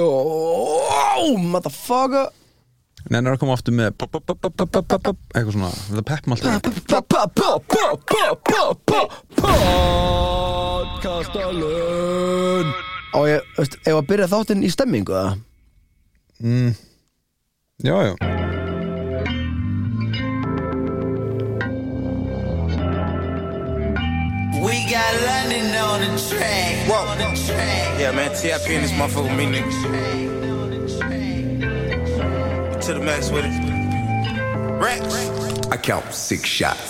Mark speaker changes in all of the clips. Speaker 1: Yo, motherfucker
Speaker 2: Nennar að koma aftur með pop, pop, pop, pop, pop, pop, pop, pop, eitthvað svona, það peppum alltaf í.
Speaker 1: Podcastalun Og ég, veist, ef að byrja þáttinn í stemmingu eða?
Speaker 2: Já, já
Speaker 3: We got London on the track.
Speaker 4: Whoa.
Speaker 3: On the track.
Speaker 4: Yeah, man, TIP in this motherfucker, me niggas. To the max with it. Racks.
Speaker 5: I count six shots.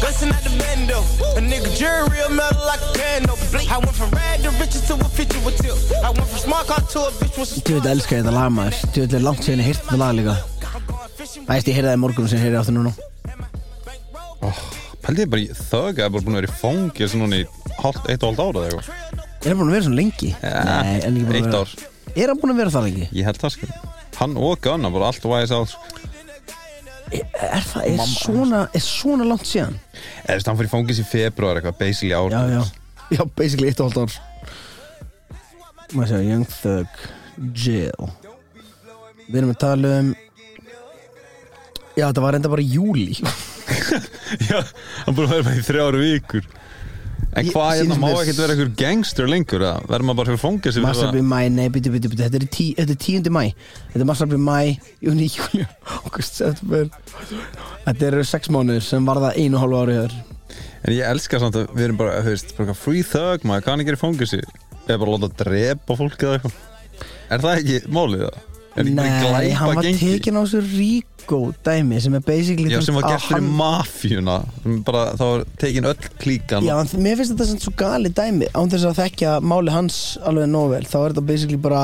Speaker 4: Bustin' out the bando. A nigga jury real metal like a bando. Bleak. I went from rad to riches to a 50 with tip. I went from smart car to a bitch with some.
Speaker 1: Djöfull elskar ég þetta lag maður Djöfull er langt séðan ég heyrði þetta lag líka
Speaker 4: I'm going fishing.
Speaker 1: Það veist ég heyrði það í morgun sem ég heyrði aftur núna
Speaker 2: Pældi ég bara, í þögg að bara búin að vera í fangir sem núna í hálft, eitt og hálft ára eða eitthvað.
Speaker 1: Er hann búin að vera svona lengi?
Speaker 2: Ja,
Speaker 1: Nei, hann er ekki búin að
Speaker 2: eitt
Speaker 1: vera
Speaker 2: ár.
Speaker 1: Er hann búin að vera það lengi?
Speaker 2: Ég held það, sko. Hann og Gunna bara allt væðis á, sko.
Speaker 1: Er það, er svona, er svona langt séðan?
Speaker 2: Eða, þú veist, hann fyrir fangis í februar eitthvað, basically ár.
Speaker 1: Já, já Já, basically eitt og halvt ár Má sjá, Young Thug Jail Við erum að tala um Já, þetta var enda bara í júli
Speaker 2: Já, hann búin að vera bara í þrjáru vikur. En
Speaker 1: Ég-
Speaker 2: hvað,
Speaker 1: sýnist
Speaker 2: hérna, má
Speaker 1: mér-
Speaker 2: ekkert vera einhver gangster lengur, eða? Verður maður bara fyrir fangis í
Speaker 1: Massarby mæ, nei, bíti, bíti, bíti Þetta er, í tí, þetta er 10. mæ Þetta er Massarby mæ, júni, júli, august, september Þetta eru sex mánuður sem var það einu og hálfu ári hér
Speaker 2: En ég elska samt að við erum bara, þú veist, bara eitthvað free thug, maður kann ekki er í fangisi Eða bara láta drepa fólk eða eitthvað Er það ekki málið það? Er ekki bara
Speaker 1: Nei,
Speaker 2: glæpa
Speaker 1: hann var
Speaker 2: gengi?
Speaker 1: tekinn á þessu ríkó dæmi sem er basically
Speaker 2: Já,
Speaker 1: þú
Speaker 2: sem var
Speaker 1: veist, að
Speaker 2: gert fyrir
Speaker 1: hann-
Speaker 2: mafíuna sem bara, það var tekin öll klíkan
Speaker 1: Já, en þ- mér finnst þetta sem svo gali dæmi án þess að þekkja máli hans alveg nóg vel þá er þetta basically bara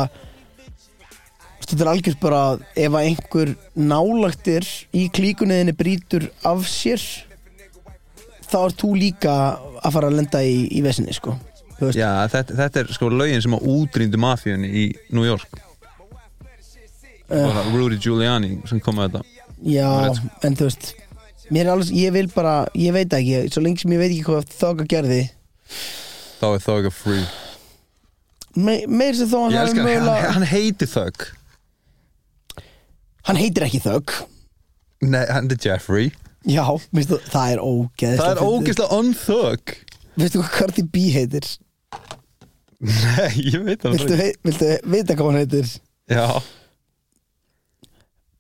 Speaker 1: þetta er algjörst bara ef að einhver nálagtir í klíkunniðinni brýtur af sér þá er þú líka að fara að lenda í, í vesinni sko Þú veist,
Speaker 2: Já, þetta, þetta er sko lögin sem að útrýndu mafíunni í New York Bara Rudy Giuliani sem kom með þetta
Speaker 1: já
Speaker 2: rétt, sko.
Speaker 1: en þú veist mér er alveg, ég vil bara, ég veit ekki svo lengi sem ég veit ekki hvað þóka gerði
Speaker 2: Þá er það ekki free
Speaker 1: me, meir sem þó hann
Speaker 2: Ég
Speaker 1: hafi
Speaker 2: elska hann,
Speaker 1: mögulega-
Speaker 2: hann, hann heiti thug
Speaker 1: hann heitir ekki þögg
Speaker 2: Nei, hann er Jeffrey
Speaker 1: Já, minnstu, það er ógeðslega
Speaker 2: Það er
Speaker 1: fyndið.
Speaker 2: ógeðslega unthug
Speaker 1: Veistu hvað Cardi B heitir?
Speaker 2: Nei, ég veit það
Speaker 1: Viltu, hei, viltu vita hvað hann heitir?
Speaker 2: Já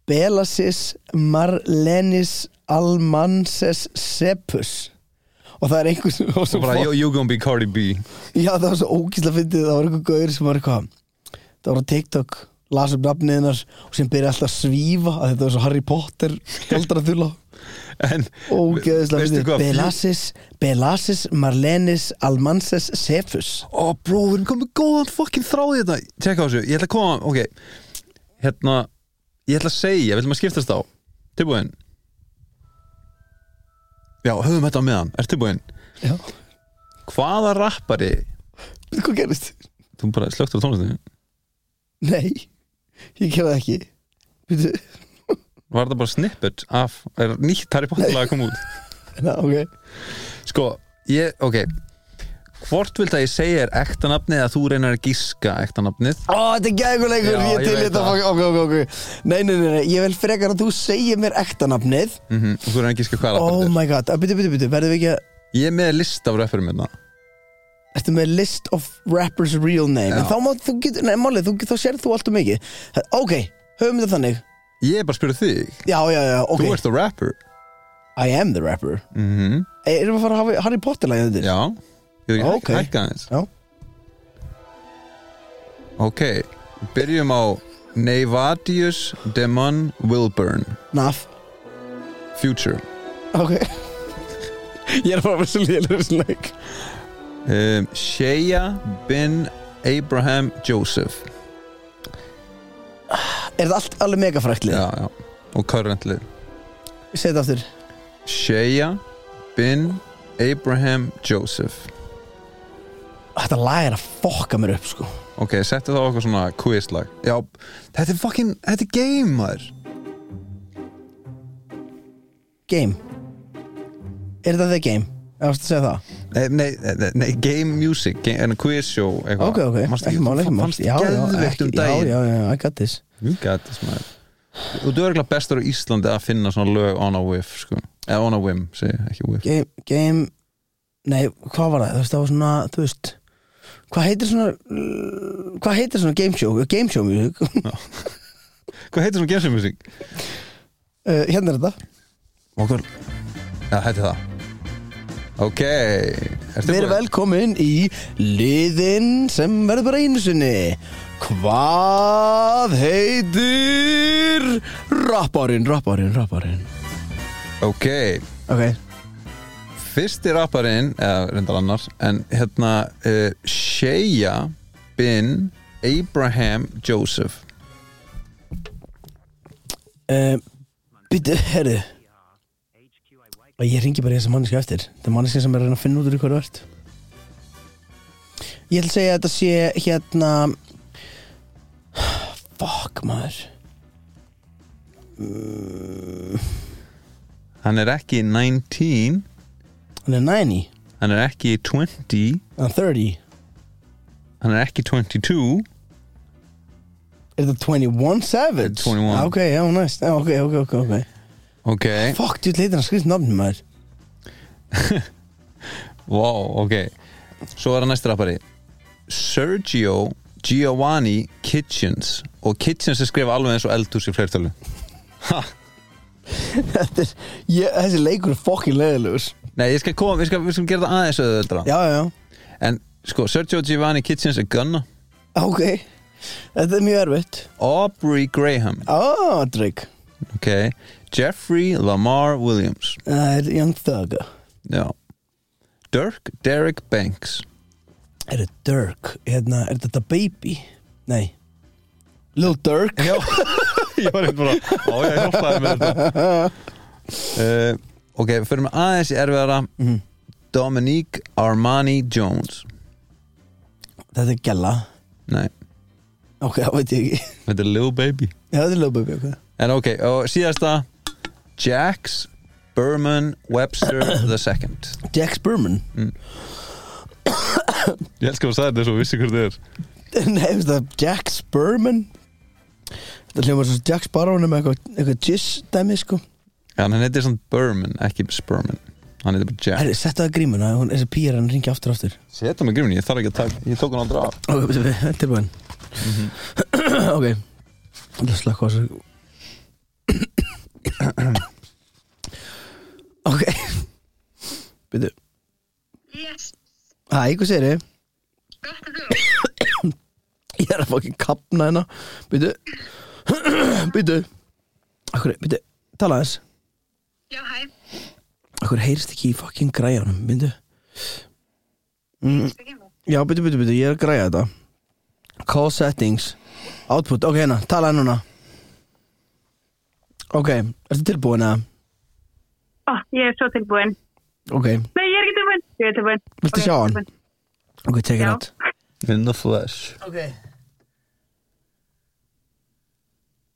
Speaker 1: Belasis Marlenis Almanses Sepus Og það er einhver sem og
Speaker 2: Svo
Speaker 1: svo
Speaker 2: bara,
Speaker 1: fó-
Speaker 2: you, you gonna be Cardi B
Speaker 1: Já, það var svo ógísla fyndið Það var einhver gaur sem var eitthvað Það var á TikTok, las upp nafniðinnar Og sem byrja alltaf að svífa að Þetta var svo Harry Potter, aldra þula
Speaker 2: En,
Speaker 1: Ógeðslega
Speaker 2: veistu
Speaker 1: fyndið
Speaker 2: hvað
Speaker 1: Belasis, Belasis Marlenis Almanses Sepus
Speaker 2: Ó, bró, við erum komið góðan fucking þráði þetta Tjekka á þessu, ég ætla að koma, ok Hérna, ég ætla að segja, við ætlum að skiptast á Tilbúin Já, höfum þetta á meðan, er tilbúin
Speaker 1: Já,
Speaker 2: Hvaða rappari
Speaker 1: hvað gerist?
Speaker 2: Þú bara slögtur á tónlistinu
Speaker 1: Nei, ég gerði það ekki Býtu,
Speaker 2: Var þetta bara snippet af Er nýtt Harry Potter lag að koma út
Speaker 1: na, ok
Speaker 2: Sko, ég, ok Hvort vilt að ég segja er ekta nafnið Eða þú reynar að gíska ekta nafnið
Speaker 1: Ó, þetta er gæðinguleikur,
Speaker 2: Já,
Speaker 1: ég
Speaker 2: ég
Speaker 1: til í
Speaker 2: veit
Speaker 1: þetta
Speaker 2: það.
Speaker 1: fuck, ok, ok, ok Nei, nei, nei, nei, ég vil frekar að þú segir mér ekta nafnið
Speaker 2: mm -hmm. Þú reynar að gíska hvað rappari
Speaker 1: Oh
Speaker 2: þetta er
Speaker 1: my god, að, býtu, býtu, býtu, verðum við ekki að
Speaker 2: Ég er með list af rapparum hérna
Speaker 1: Ertu með list of rappers real name En
Speaker 2: Já.
Speaker 1: þá má, þú getur, nei, málið, þú getur, þá sérð þú allt um ekki Ok, höfum þetta þannig
Speaker 2: Ég er bara að spyrja þig
Speaker 1: Já, já, já, ok
Speaker 2: Þú ert the rapper
Speaker 1: I am the rapper
Speaker 2: mm
Speaker 1: e, Erum við að fara að hafa Harry Potter lagið undir?
Speaker 2: Já Ég er
Speaker 1: Ok.
Speaker 2: ekki hækka aðeins
Speaker 1: Já.
Speaker 2: Ok Byrjum á Nevadius Demon Wilburn
Speaker 1: Naf,
Speaker 2: Future
Speaker 1: ok Ég er bara að vera svo lélur þessu leik
Speaker 2: um, Shea bin Abraham Joseph
Speaker 1: Er þetta allt alveg megafræklið?
Speaker 2: Já, já Og currently
Speaker 1: Segð þetta aftur
Speaker 2: Shea bin Abraham Joseph
Speaker 1: Þetta lag er að fokka mér upp, sko
Speaker 2: Ok, settu þá okkur svona quizlag Já, þetta er fucking, þetta er game maður
Speaker 1: Game Er þetta The Game? Ég varst að segja það
Speaker 2: Nei, nei, nei, nei, game music game, En quiz show eitthvað
Speaker 1: Ok, ok,
Speaker 2: Manstu
Speaker 1: ekki mál, ekki mál
Speaker 2: Fannst geðveikt um daginn
Speaker 1: Já, já, já, I got this
Speaker 2: You got this man Og þú er ekki bestur á Íslandi að finna svona lög on a whiff sko. Eða on a whim, segi ég, ekki whiff
Speaker 1: Game, game Nei, hvað var það? Þú veist, það var svona, þú veist Hvað heitir svona Hvað heitir svona game show? Game show music
Speaker 2: Hvað heitir svona game music?
Speaker 1: uh, Hérna er þetta
Speaker 2: Okkur Já, hætti það Ok Ertu
Speaker 1: Við erum
Speaker 2: búin?
Speaker 1: velkomin í liðin sem verður bara einu sinni Hvað heitir rapparinn, rapparinn, rapparinn
Speaker 2: Ok
Speaker 1: Ok,
Speaker 2: Fyrsti rapparinn Eða reyndar annars En hérna uh, Shea bin Abraham Joseph
Speaker 1: uh, Býtu, herðu Og ég ringi bara í þessa manneski eftir Það er manneski sem er að reyna að finna út úr hverju ert Ég ætla að segja að þetta sé hérna Fuck maður
Speaker 2: Hann er ekki 19
Speaker 1: Hann er 90
Speaker 2: Hann er ekki 20
Speaker 1: Hann er 30
Speaker 2: Hann er ekki 22
Speaker 1: Er þetta 21 Savage?
Speaker 2: 21.
Speaker 1: Ah, Ok, já, næst nice. Ok, ok, ok, ok
Speaker 2: Ok
Speaker 1: Fuck, þú leitir hann skrifst nafnum maður
Speaker 2: Wow, ok Svo er hann næst rappari Sergio Giovanni Kitchens Og Kitchens er skrifa alveg eins og eldhús í fleirtölu
Speaker 1: Þetta er, ég, þessi leikur er fucking leðilegur
Speaker 2: Nei, ég skal koma, við skal, við skal gera það aðeins auðvöldra
Speaker 1: Já, já, já
Speaker 2: En sko, Sergio Giovanni Kitchens er gunna
Speaker 1: Ok Þetta er mjög erfitt
Speaker 2: Aubrey Graham
Speaker 1: Ó, oh, Drake
Speaker 2: Ok Jeffrey Lamar Williams
Speaker 1: Það er Young Thugger
Speaker 2: Já Dirk Derek Banks
Speaker 1: Er þetta Dirk? Hérna, er þetta Baby? Nei Lil Dirk?
Speaker 2: Já, ég var eitthvað bara Ó, ég hjálpaði með þetta uh, Ok, fyrir mig aðeins í erfiðara Dominique Armani Jones
Speaker 1: Þetta er Gjalla
Speaker 2: Nei,
Speaker 1: Ok, það veit ég ekki Já,
Speaker 2: þetta er Lil Baby
Speaker 1: þetta er Lil Baby ok.
Speaker 2: En ok, og síðasta Jax Berman Webster the second
Speaker 1: Jack Spurman
Speaker 2: Ég elskar að sagði þetta svo vissi hvort þið er
Speaker 1: Nei, veist það, Jack Spurman Þetta hljómar svo Jack Sparrow með eitthvað, eitthvað jizz dæmi, sko
Speaker 2: Já, en hann heitir samt Berman, ekki Spurman Hann heitir bara Jack
Speaker 1: Herri, settu það grímuna, hún, þessi pýr hann ringi aftur og aftur
Speaker 2: Seta mig grifin, ég þarf ekki að taka Ég tók hann aldrei af
Speaker 1: Ok, betur við, tilbúin Mhm. Ok Ég ætla að slaka á þessu Ok Betur
Speaker 6: Yes,
Speaker 1: Hæ, hvað segir þið?
Speaker 6: gott að þú.
Speaker 1: Ég er að fá ekki kapna hérna Býtu Býtu Akkur, býtu, tala þess
Speaker 6: Já, hæ,
Speaker 1: Akkur heyrist ekki í fucking græjanum, býtu
Speaker 6: það kemur.
Speaker 1: Já, býtu, býtu, býtu, ég er að græja þetta Call settings Output, ok, hérna, tala hérna núna Ok, ertu tilbúin eða?
Speaker 6: Ó, ég er svo tilbúin.
Speaker 1: Ok,
Speaker 6: Nei, ég er ekki tilbúin. Ég er tilbúin.
Speaker 1: Viltu
Speaker 6: Ok,
Speaker 1: sjá hann?
Speaker 6: tilbúin.
Speaker 1: ok, take it
Speaker 6: Já.
Speaker 1: out
Speaker 2: In the flesh
Speaker 1: Ok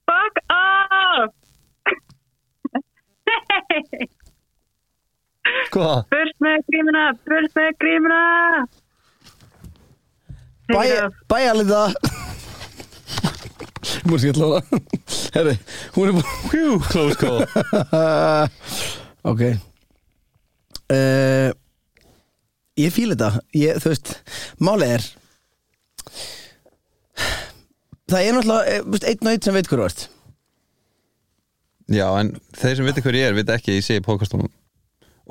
Speaker 6: Fuck off! Nei,
Speaker 2: Hvað?
Speaker 6: burt með grímuna, burt með grímuna! Take it off.
Speaker 1: Bæja lita Múið sér ætla hana Herri, hún er búin
Speaker 2: Hjú, close call
Speaker 1: Ok uh, Ég fíla þetta ég, Þú veist, málið er Það er náttúrulega eh, þú veist, einn og einn sem veit hver þú ert
Speaker 2: Já, en þeir sem viti hver ég er viti ekki að ég segi podcastunum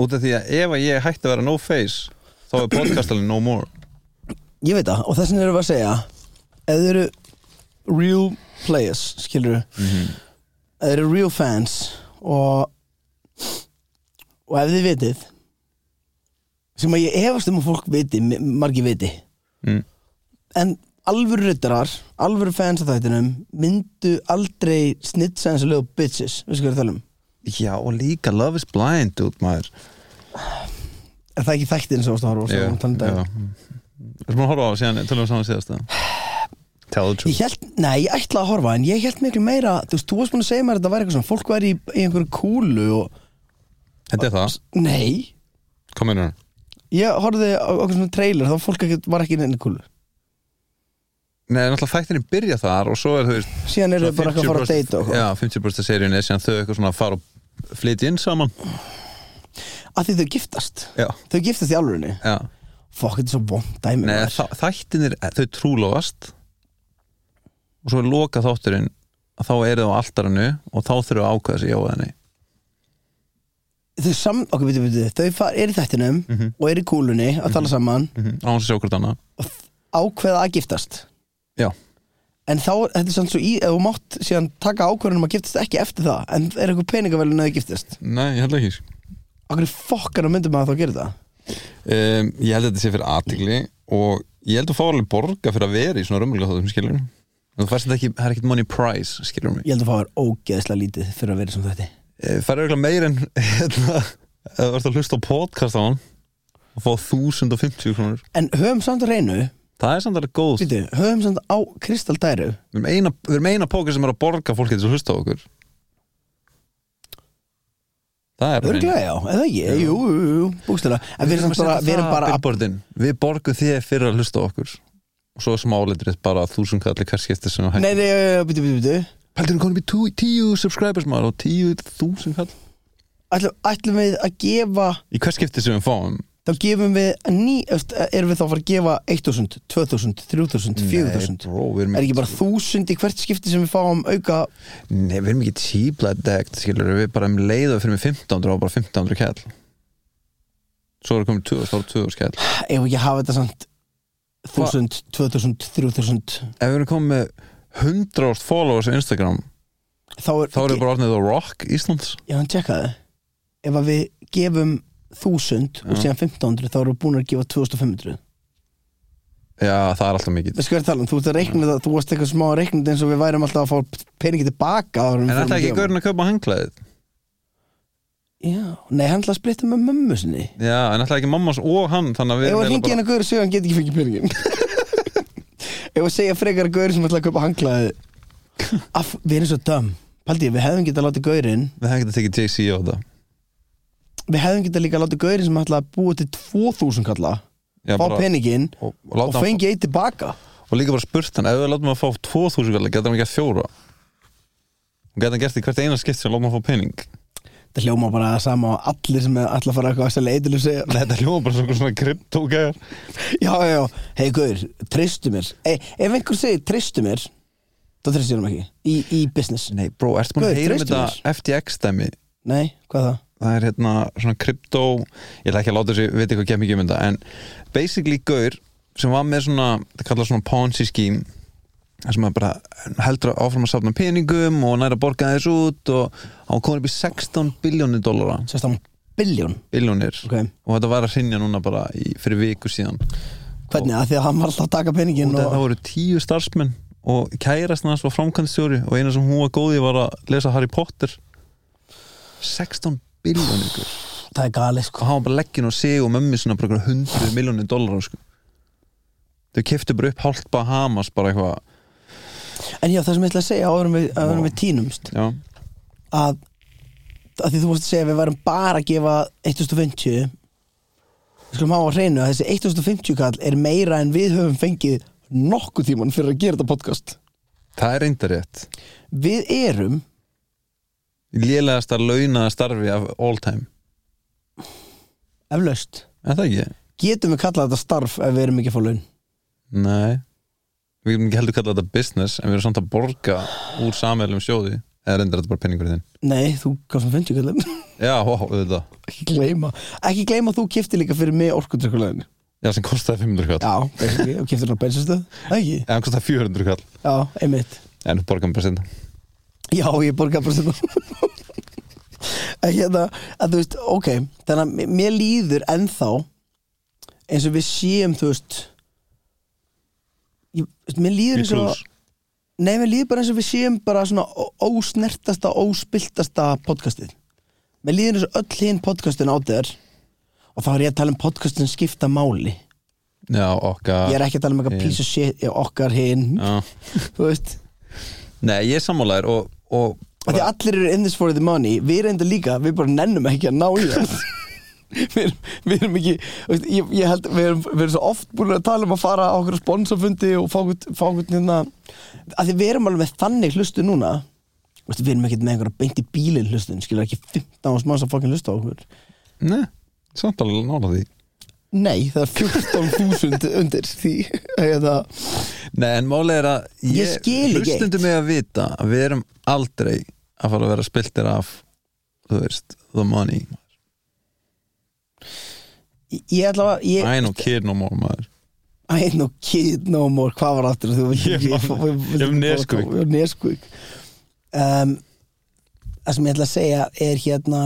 Speaker 2: Út af því að ef að ég hætti að vera no face þá er podcastalinn no more
Speaker 1: Ég veit það og þess vegna erum við að segja Ef þið eru real players Skilur við Ef þið eru real fans Og Og ef þið vitið Sem að ég efast um að fólk viti m- Margi viti
Speaker 2: Mm.
Speaker 1: En alvöru ryttarar Alvöru fans að þættinum Myndu aldrei snitsa eins og lög bitches Við skoðum að tala um
Speaker 2: Já, og líka love is blind út maður
Speaker 1: Er það ekki þættin sem þú varst að horfa á, sem við vorum að tala um daginn?
Speaker 2: Ertu búin að horfa á síðan, tölum við saman síðast eða? Tell the
Speaker 1: Ég
Speaker 2: truth
Speaker 1: held, nei, ég ætla að horfa en ég held miklu meira, þú veist, þú varst búin að segja mér að þetta væri eitthvað svona, fólk væri í, í einhverju kúlu og,
Speaker 2: Þetta er það,
Speaker 1: nei
Speaker 2: komin hérna
Speaker 1: Ég horfði á okkur svona trailer þá fólk ekki, var ekki inn í kúlu
Speaker 2: Nei, náttúrulega þættinni byrja þar og svo er þú veist
Speaker 1: Síðan eru þau bara ekki að fara að
Speaker 2: 50%
Speaker 1: deyta okkur
Speaker 2: Já, 50% seríun er síðan þau eitthvað svona að fara og flytja inn saman
Speaker 1: Af því þau giftast
Speaker 2: Já,
Speaker 1: Þau giftast í álurinni
Speaker 2: já
Speaker 1: Fokk, þetta er svo vond dæmi
Speaker 2: Nei,
Speaker 1: maður.
Speaker 2: þa- þættinir, þau trúlofast og svo er loka þátturinn að þá eru þau á altarinu og þá þurfum við að ákvæða sig já eða nei
Speaker 1: Þau sam, okkur, veitum, veitum, þau far, er í þættinum og er í kúlunni að tala saman
Speaker 2: Mhm, án þess að sjá hvort annað
Speaker 1: ákveða að giftast
Speaker 2: Já,
Speaker 1: En þá, þetta er samt svo í, ef þú mátt síðan taka ákvörðunum að giftast ekki eftir það en er eitthvað peningavelun að þau giftast
Speaker 2: nei, ég held ekki sko.
Speaker 1: Akkur fokkar og myndum að þá gera það
Speaker 2: um, Ég held að þetta sé fyrir aðtigli og ég held að fá alveg borga fyrir að vera í svona römmulega þáttum skilur Þú færst þetta ekki, það er ekkert money price skilur mig
Speaker 1: Ég held að fá þér ógeðslega lítið fyrir að vera sem þetta
Speaker 2: Færðu eitthvað meir en hérna, ef þú ert að hlusta á podcast á hann og fá 1050 krónur
Speaker 1: En höfum samt að reynu
Speaker 2: Það er samt alveg góð
Speaker 1: Býtu, höfum samt á kristaldæru
Speaker 2: Við erum eina, við erum eina póker sem er að borga fólki til að hlusta á okkur Það er
Speaker 1: Örglega já, eða ekki, jú, jú, jú, jú búkstæla En við erum samt bara, við erum bara að,
Speaker 2: billboardin. Við borgum þér fyrir að hlusta á okkur og svo smáleitrið bara þúsund kallir hverskipti sem
Speaker 1: Nei, nei, býtu, býtu, býtu
Speaker 2: Pældur við konum í tú- tíu subscribers maður og tíu þúsund kall
Speaker 1: ætlum, ætlum við að gefa
Speaker 2: Í hverskipti sem við fáum
Speaker 1: Þá gefum við ný, eftir, erum við þá að fara að gefa 1000, 2000, 3000, 4000
Speaker 2: Nei, bro, við erum
Speaker 1: Er ekki
Speaker 2: ekki-
Speaker 1: bara 1000 í hvert skipti sem við fáum auka
Speaker 2: Nei, við erum ekki tíbla degt skilur við bara um leið og fyrir með 1500 og bara 1500 kall Svo er komin 2000, þá er 2000 kall
Speaker 1: Ef ekki að hafa þetta samt 1000, 2000, 3000
Speaker 2: Ef við erum komin með 100 ást followers á Instagram
Speaker 1: Þá er,
Speaker 2: þá erum við bara orðnið The Rock Íslands
Speaker 1: Já, hann tjekkaði Ef að við gefum 1000 og síðan 1500 þá erum við búin að gefa 2500
Speaker 2: Já, það er alltaf mikið
Speaker 1: Við skoðum að tala um, þú ert að reikna það, þú varst eitthvað smá að reikna þetta eins og við værum alltaf að fá peningi tilbaka áður
Speaker 2: En
Speaker 1: við fórum
Speaker 2: þetta er ekki
Speaker 1: gefa.
Speaker 2: gaurin að kaupa hanglaðið
Speaker 1: Já, nei, hann ætlaði að splitta með mömmu sinni
Speaker 2: Já, en þetta er ekki mammas og hann Þannig að við
Speaker 1: Ef að
Speaker 2: erum
Speaker 1: hringi
Speaker 2: eiginlega
Speaker 1: hennar gaur og segja að hann get ekki fengið peningin Ef að segja frekar að gaur sem ætlaði að kaupa hanglaði Af, við erum svo döm Paldi, við hefðum getað að láta gaurinn
Speaker 2: bara- Við hefum ekki að tekið JC á þetta
Speaker 1: Við hefðum getað líka að láta gaurinn sem ætlaði að búa til 2000 kalla
Speaker 2: Já,
Speaker 1: Fá
Speaker 2: bara-
Speaker 1: peningin
Speaker 2: og, og,
Speaker 1: og
Speaker 2: láta hann-
Speaker 1: fengi eitt tilbaka
Speaker 2: og líka bara spurt hann Ef við látum að fá 2000 kallar, getur hann ekki að fjóra Og getur hann gert í hvert eina skipt sem látum að fá pening
Speaker 1: Það hljóma bara það sama á allir sem ætla að fara eitthvað að selja eitilum segja
Speaker 2: Nei, Þetta hljóma bara svona, svona kryptógæðar
Speaker 1: Já, já, já, hei gaur, treystu mér e, Ef einhver segir treystu mér þá treystu ég hann ekki í, í business
Speaker 2: Nei, bró, ertu búin
Speaker 1: Guð,
Speaker 2: að heyra um
Speaker 1: treystu
Speaker 2: þetta FTX-dæmi
Speaker 1: Nei, hvað það?
Speaker 2: það er hérna svona kryptó ég ætla ekki að láta þessi, veit eitthvað kemur ekki um þetta en basically gaur sem var með svona, það kallar svona Ponzi scheme þar sem að bara heldur áfram að safna peningum og næra borga þess út og hann kom upp í 16 biljónir dollara,
Speaker 1: Sérst hann biljón
Speaker 2: biljónir
Speaker 1: Ok.
Speaker 2: og þetta var að hrinja núna bara í, fyrir viku síðan
Speaker 1: Hvernig, að því að hann var alltaf að taka peningin
Speaker 2: og
Speaker 1: og,
Speaker 2: það voru tíu starfsmenn og kærast hans var framkvæmstjóri og eina sem hún var góði var að lesa Harry Potter 16 biljónir gaur
Speaker 1: það er galið
Speaker 2: og
Speaker 1: sko
Speaker 2: hann var bara leggin og sig og mömmi svona bara hundru miljónir dólar sko. þau keftu bara upp hálft Bahamas bara eitthvað
Speaker 1: En já, það sem ég ætla að segja áður en við, áður en við tínumst
Speaker 2: já,
Speaker 1: að, að því þú vorst að segja að við værum bara að gefa 1050 við skulum hafa á hreinu að þessi 1050 kall er meira en við höfum fengið nokkuð tíman fyrir að gera þetta podcast
Speaker 2: það er reyndar rétt
Speaker 1: Við erum
Speaker 2: lélegasta launaða starfi af all time
Speaker 1: eflaust
Speaker 2: er það ekki?
Speaker 1: Getum við kallað þetta starf ef við erum ekki að fá laun
Speaker 2: nei við erum ekki heldur kallað þetta business en við erum samt að borga úr samveilum sjóði eða reyndar þetta bara penningur þinn
Speaker 1: Nei, þú gafst mér 50 kallin
Speaker 2: já, ó, auðvitað
Speaker 1: Ekki gleyma Ekki gleyma að þú kifti líka fyrir mig orkundrykkulegin
Speaker 2: já, sem kostaði 500 kall
Speaker 1: Já, basically, og kiftir hann á bensinstöð Það ekki?
Speaker 2: eða hann kostaði 400 kall
Speaker 1: Já, einmitt
Speaker 2: en borgaðum bara sinna
Speaker 1: Já, ég borga bara sem En hérna, að þú veist, ok Þannig að m- mér líður ennþá eins og við séum, þú veist ég, þú veist, Mér líður
Speaker 2: í
Speaker 1: eins og
Speaker 2: klús
Speaker 1: Nei, mér líður bara eins og við séum bara svona ó- ósnertasta, óspiltasta podcastið Mér líður eins og öll hinn podcastin á þér og þá er ég að tala um podcastin skipta máli
Speaker 2: já, okkar
Speaker 1: Ég er ekki að tala um eitthvað
Speaker 2: Hinn.
Speaker 1: piece of shit ég, okkar hinn,
Speaker 2: Já.
Speaker 1: þú veist
Speaker 2: nei, ég er sammálaður og, og
Speaker 1: Af Því að allir eru in this for the money Við reynda líka, við bara nennum ekki að ná í það við erum, við erum ekki þú veist, ég, ég held, við erum, við erum svo oft búin að tala um að fara á okkur sponsorfundi og fá okkur, fá okkur hérna að því við erum alveg með þannig hlustu núna Þú veist, við erum ekkert með einhverja beint í bílinn hlustun skilur ekki 15 árs manns að fokkin hlusta á okkur
Speaker 2: Nei, samt alveg nála því
Speaker 1: nei, það er 14.000 undir því eða,
Speaker 2: Nei, en máli er að
Speaker 1: Ég skil ekki
Speaker 2: Hlustundum mig að vita að við erum aldrei að fara að vera spiltir af þú veist, the money
Speaker 1: ég, ég ætla að ég,
Speaker 2: I don't care no more maður
Speaker 1: I ain't no kid no more hvað var aftur þú
Speaker 2: Ég man- ég hef Nesquik.
Speaker 1: ég hef neskvík um, það sem ég ætla að segja er hérna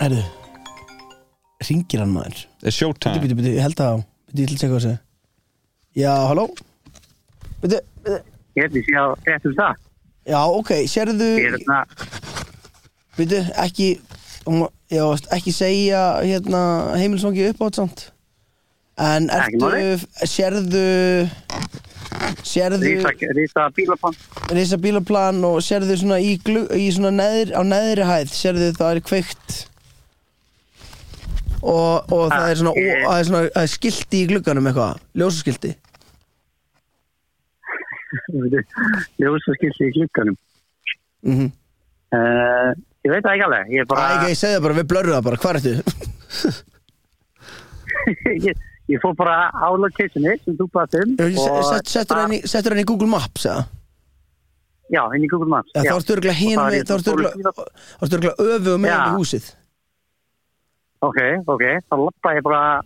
Speaker 1: herru ringir hann maður
Speaker 2: It's showtime
Speaker 1: bíti, bíti, ég held að á bíti, ég ætla að segja hvað þessi já, halló bíti, bíti.
Speaker 7: Ég held ég sé á réttum stað.
Speaker 1: já, ok, sérðu
Speaker 7: Ég er hérna. þarna,
Speaker 1: bíti, ekki um, já, veist, ekki segja hérna heimilsvangi upp á þetta samt en
Speaker 7: Ekki máli.
Speaker 1: ertu sérðu sérðu
Speaker 7: rísa- rísa bílapán.
Speaker 1: reysa bílaplan og sérðu svona í, glug, í svona neðri, á neðri hæð sérðu það er kveikt og, og
Speaker 7: Ah.
Speaker 1: það er svona, og, það er svona það er skilti í glugganum eitthvað, ljósaskilti
Speaker 7: Ljósa skilti í klukkanum.
Speaker 1: mm -hmm.
Speaker 7: Uh, ég veit það ekki alveg. Ég er bara...
Speaker 1: Æ, ég segi það bara, við blörruð það bara, hvað ertu?
Speaker 7: ég, ég fór bara á locationi sem þú baðst um. og- ah.
Speaker 1: Settur hann, í- settur hann í Google Maps eða?
Speaker 7: Já, inn í Google Maps.
Speaker 1: Já, þá ertu örgulega hinn
Speaker 7: Og það er
Speaker 1: við,
Speaker 7: í-
Speaker 1: þá ertu örgulega þá ertu örgulega öfu og meðan
Speaker 7: Já.
Speaker 1: við hérna húsið
Speaker 7: Ok, ok, þá lappa ég bara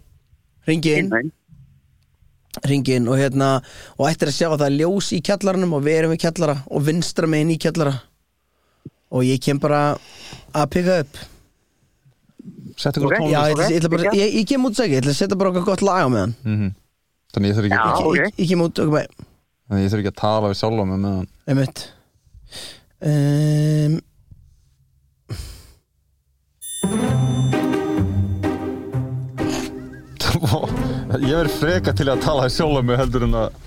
Speaker 1: ringi inn,
Speaker 7: inn þeim.
Speaker 1: ringi inn og hérna og ættir að sjá að það er ljós í kjallaranum og við erum í kjallara og vinstra megin í kjallara og ég kem bara að pika upp
Speaker 2: Settu ykkur á
Speaker 7: Ok.
Speaker 2: tónlist
Speaker 1: Já, ég, ætla- ég, ætla bara,
Speaker 7: Byrja.
Speaker 1: ég, ég kem út sækja, ég ætla að setja bara okkar gott lag á meðan
Speaker 2: Þannig ég þarf ekki,
Speaker 7: Já.
Speaker 2: að-
Speaker 1: Ég,
Speaker 7: ok.
Speaker 1: ég, ég kem út okkur með,
Speaker 2: þannig ég þarf ekki að tala við sjálfa mig meðan
Speaker 1: einmitt um,
Speaker 2: Ég verð freka til að tala við sjálfa mig heldur en að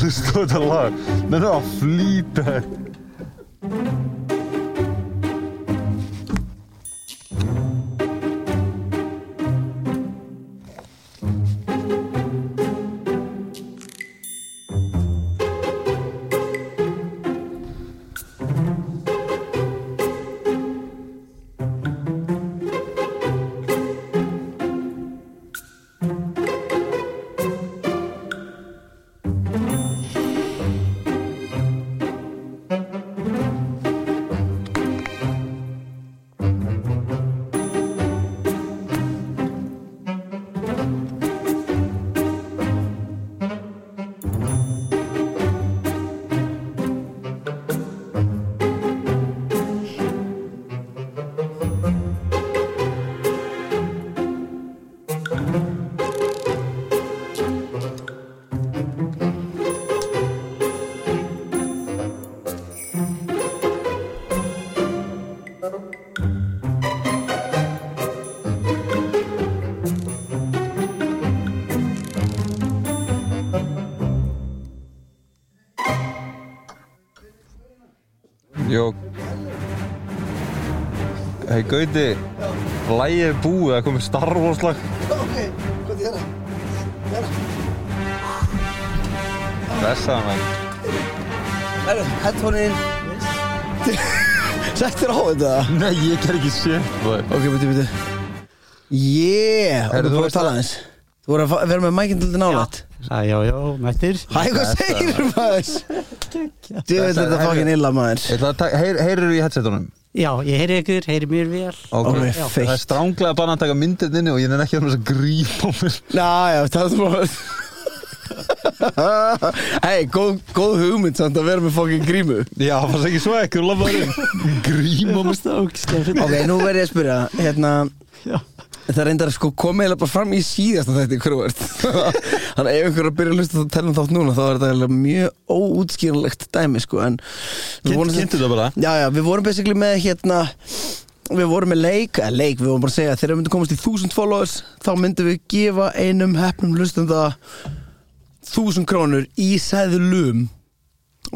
Speaker 2: hlusta á þetta lag Nei, það er að flýta þér. Jó Hei Gauti Lægið er búið, það komið Star Wars lag Vessaða menn
Speaker 1: Headphone-in Settur á þetta
Speaker 2: Nei, ég ger ekki sé
Speaker 1: Ok, beti, beti Yeah, og
Speaker 2: Heyrðu,
Speaker 1: þú
Speaker 2: þú
Speaker 1: búið að
Speaker 2: veist
Speaker 1: tala aðeins Þú voru að fa- vera með mækinn til nálætt
Speaker 8: Æ, já, já, mættir.
Speaker 1: Hæ, hvað segir maður? Þú veit þetta fokkin illa maður
Speaker 2: Heyrir í headsetunum
Speaker 8: Já, ég heyri ykkur, heyri mér vel.
Speaker 1: Ok,
Speaker 2: okay. Það er
Speaker 1: feitt
Speaker 2: stránglega bara að taka myndir inni og ég er ekki að þess að grípa á mér
Speaker 1: Já, já, það er bara Hei, góð, góð hugmynd samt að vera með fokkin grímu
Speaker 2: Já, það fannst ekki svo ekkur, lafa þér Gríma
Speaker 8: Þú veist það ógislega
Speaker 1: Ok,
Speaker 8: fyrir.
Speaker 1: nú verð ég að spyrja Hérna,
Speaker 8: Já.
Speaker 1: það reyndar sko komið eiginlega bara fram í síðasta þetta hverju verð Þannig að ef ykkur er að byrja að lusta að tala um þátt núna þá er þetta eiginlega mjög óútskýranlegt dæmi sko En við vorum samt-
Speaker 2: Kynntu þetta bara
Speaker 1: Já, já, við vorum basically með hérna Við vorum með leik, eða leik, við vorum bara að segja að Þegar við myndum komast í 1000 followers Þá myndum við gefa einum hefnum lustenda 1000 krónur í sæðlum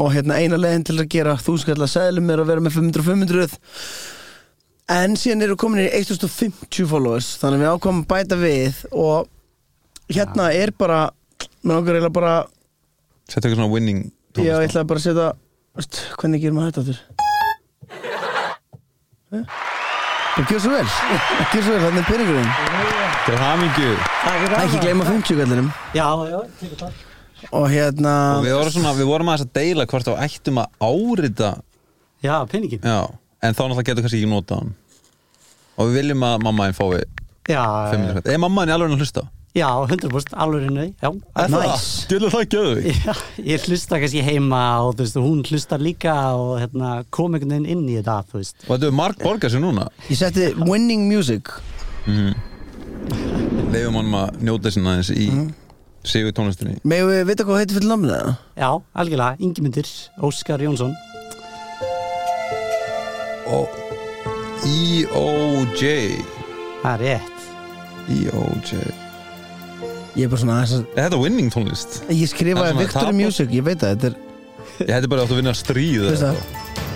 Speaker 1: Og hérna eina leiðin til að gera 1000 kallar sæðlum er að vera með 500 og 500 En síðan eru komin í 1050 followers Þannig að við ákvæmum bæta við Og hérna er bara Mér okkur eiginlega bara
Speaker 2: Settu eitthvað svona winning
Speaker 1: Já, ég
Speaker 2: tónlist á.
Speaker 1: ætlaði bara að setja veist, Hvernig gerum við þetta aftur? Það gjör svo vel Gjör svo vel, þannig er peningurinn
Speaker 2: Til hamingju
Speaker 1: Ekki gleyma 50 kallinum
Speaker 8: Já, já, tekur það
Speaker 1: Og hérna
Speaker 2: Og við vorum, svona, við vorum aðeins að deila hvort þá ættum að árita
Speaker 8: Já, peningin
Speaker 2: Já, en þá náttúrulega getur kannski ekki nota hann Og við viljum að mamma einn fái
Speaker 8: Já,
Speaker 2: 500 kall. Er mamma einn alveg að hlusta?
Speaker 8: já 100% alveg henni Já,
Speaker 1: Nice.
Speaker 2: Djölu það gjöðu
Speaker 8: Já, ég hlusta kannski heima og þú veist, hún hlusta líka og hérna, kom einhvern veginn inn í þetta, þú veist.
Speaker 2: Og þetta er marg borgar sér núna
Speaker 1: Ég setti winning music
Speaker 2: Leifum hann að njóta sinna aðeins í mm. Sigur tónlistinni
Speaker 1: Megum við vita hvað heitir fyrir namnið það?
Speaker 8: Já, algjörlega, Ingimundur, Óskar Jónsson.
Speaker 2: Og E E.O.J
Speaker 8: Það er rétt.
Speaker 2: E E.O.J
Speaker 1: Ég er bara svona aðeins
Speaker 2: Er þetta winning tónlist?
Speaker 1: að Ég
Speaker 2: Það er
Speaker 1: skrifaði
Speaker 2: svona
Speaker 1: Victory
Speaker 2: tapað.
Speaker 1: Music, ég veit það Þetta er,
Speaker 2: Ég hætti bara átt að vinna stríð
Speaker 1: veist
Speaker 2: eða
Speaker 1: það
Speaker 2: eitthvað.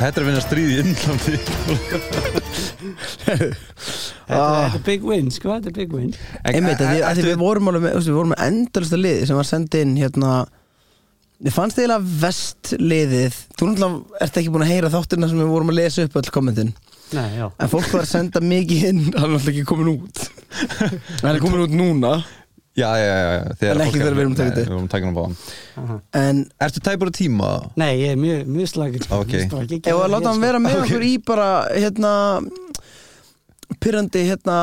Speaker 2: Þetta er að vinna stríð í Indlandi
Speaker 8: Þetta
Speaker 1: Ah.
Speaker 8: þetta er big win, sko, þetta er big win.
Speaker 2: En-
Speaker 1: Einmitt, að því, að því
Speaker 2: ættum
Speaker 1: við vorum alveg með, þú veist, við vorum með endalista liði sem var sendið inn hérna Ég fannst eiginlega vest liðið Þú náttúrulega ert ekki búin að heyra þáttirna sem við vorum að lesa upp öll kommentin
Speaker 8: Nei, já.
Speaker 1: En fólk var að senda mikið inn Það er náttúrulega ekki komin út Það er komin út núna
Speaker 2: Já, já, já, já þegar
Speaker 1: En
Speaker 2: fólk
Speaker 1: ekki
Speaker 2: er-
Speaker 1: þegar við erum að taka
Speaker 2: Nei,
Speaker 1: þetta.
Speaker 2: Við erum takin á báðan
Speaker 1: En
Speaker 2: Ertu tæpur að tíma það?
Speaker 8: Nei, ég er mjög, mjög slagur, sko.
Speaker 2: Ok.
Speaker 8: Ég skal ekki
Speaker 1: ef
Speaker 8: gera
Speaker 1: að
Speaker 8: það,
Speaker 1: láta hann
Speaker 8: sko.
Speaker 1: vera með okkur í bara hérna pyrrandi hérna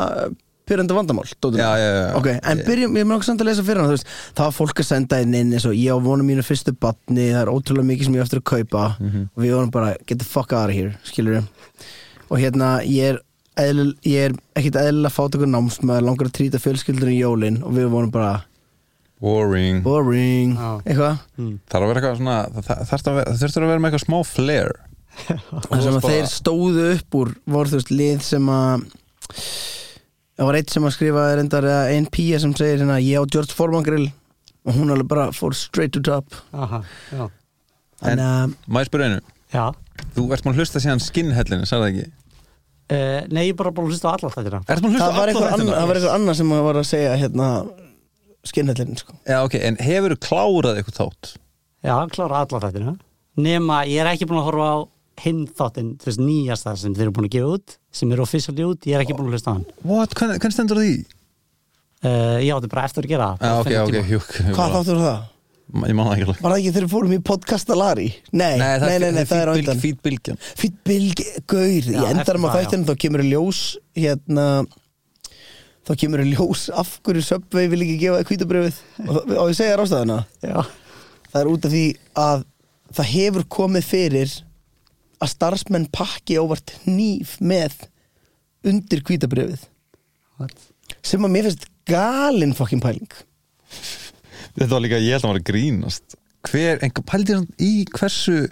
Speaker 1: pyrrandi vandamál dóttir.
Speaker 2: Já, já, já.
Speaker 1: Ok, en byrjum, ég mun okkur samt að lesa fyrir hann þú veist, það var fólk að senda inn inn eins og ég á vonu mínu fyrstu batni það er ótrúlega mikið sem ég á eftir að kaupa
Speaker 2: Mhm.
Speaker 1: og við vorum bara get the fuck out of here skilur og hérna ég er eðl, ég er ekkit eðlilega fátökur námsmaður langar að trýta fjölskyldur í jólin og við vorum bara
Speaker 2: Boring
Speaker 1: boring,
Speaker 8: Já.
Speaker 1: eitthvað
Speaker 2: Það þarf að vera eitthvað svona Það, það, þarf að vera- það þurftur að vera með eitthvað smá flair
Speaker 1: Það sem að
Speaker 2: Bara-
Speaker 1: þeir stóðu upp úr voru þú veist lið sem að það var eitt sem að skrifa reyndar eða ein pía sem segir hérna ég á George Foreman grill og hún alveg bara fór straight to top
Speaker 8: Aha, já.
Speaker 1: en
Speaker 2: En-
Speaker 1: að
Speaker 2: Má ég spyrja einu
Speaker 8: Já.
Speaker 2: Þú ert maður að hlusta síðan skinnhellinu, sagði það ekki
Speaker 8: Uh, nei, ég er bara búin að hlusta á alla þetta.
Speaker 2: Ert maður að hlusta
Speaker 1: það var
Speaker 2: alla
Speaker 1: einhver annar,
Speaker 2: þættina?
Speaker 1: það var einhver annar sem var að segja hérna skinnhellin sko
Speaker 2: Já, ok, en hefur þú klárað eitthvað þátt?
Speaker 8: Já, klára alla þetta. Nema, ég er ekki búin að horfa á hinn þáttinn, þú veist, nýjasta sem þeir eru búin að gefa út, sem eru officially út, ég er ekki búin að hlusta á hann.
Speaker 2: What, hvernig hvern stendur á því?
Speaker 8: Uh, ég átti bara eftir að gera það.
Speaker 2: Já, Ah,
Speaker 8: bara
Speaker 2: ok,
Speaker 8: finna
Speaker 2: ok,
Speaker 8: tíma.
Speaker 2: hjúk ég
Speaker 1: hvað
Speaker 2: bara-
Speaker 1: þáttur var það?
Speaker 2: Ég man það ekki alveg
Speaker 1: Var það ekki þegar við fórum í podcastalari? Nei, nei, nei, nei, það er á undan
Speaker 2: Fýt bylgjan
Speaker 1: Fýtt bylg, gaur,
Speaker 8: Já,
Speaker 1: ég endar
Speaker 8: eftir
Speaker 1: maður
Speaker 8: það,
Speaker 1: þættinu þá kemur í ljós hérna þá kemur í ljós af hverju Subway vil ekki gefa kvítabröfið og það- og ég segja rástaðuna
Speaker 8: Já.
Speaker 1: það er út af því að það hefur komið fyrir að starfsmenn pakki óvart hníf með undir kvítabröfið
Speaker 8: What?
Speaker 1: sem að mér finnst galin fokkin pæling
Speaker 2: Þetta var líka, ég held að maður að grínast Hver, en pældi hann í hversu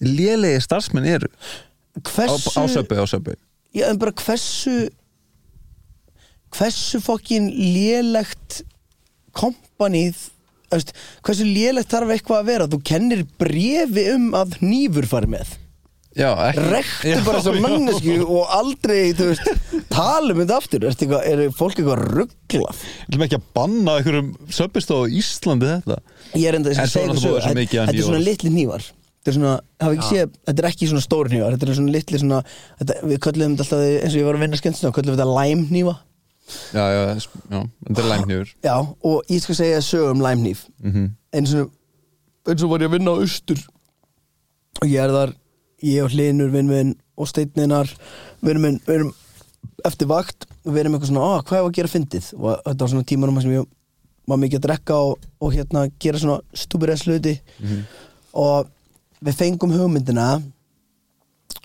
Speaker 2: lélegi starfsmenn eru Á-
Speaker 1: hversu
Speaker 2: Á söpbi, á söpbi
Speaker 1: Já, en bara hversu hversu fokkin lélegt kompanið veist, hversu lélegt þarf eitthvað að vera þú kennir brefi um að nýfur fari með
Speaker 2: Já, ekki
Speaker 1: rektu bara þess að mannesku og aldrei, þú veist, talum þetta aftur Ertu eitthvað, er fólk eitthvað rugglað
Speaker 2: Þú ekki að banna einhverjum söpbistóð í Íslandi þetta
Speaker 1: ég er enda þess
Speaker 2: En
Speaker 1: að
Speaker 2: svo
Speaker 1: segja ykkur sögu.
Speaker 2: náttúrulega búið svo
Speaker 1: Þetta-
Speaker 2: mikið að
Speaker 1: þetta er svona
Speaker 2: hnífar.
Speaker 1: litli nývar þetta er svona, hafa ekki séð, þetta er ekki svona stór nývar þetta er svona litli svona þetta, við köllum þetta alltaf, eins og ég var að vinna skemmtist köllum við þetta læm nýva
Speaker 2: Já, já, s- já, þetta er læmnjur
Speaker 1: Já, og ég skal segja sög um læmnýf eins, og, eins og var ég að vinna á austur og ég er þar ég og Hlinur, vinn minn og Steininar við erum, við erum eftir vakt og við erum eitthvað svona, "Ah, hvað er að gera fyndið og þetta var svona tímanum sem ég var mikið að drekka og, og hérna gera svona stúbirið sluti og við fengum hugmyndina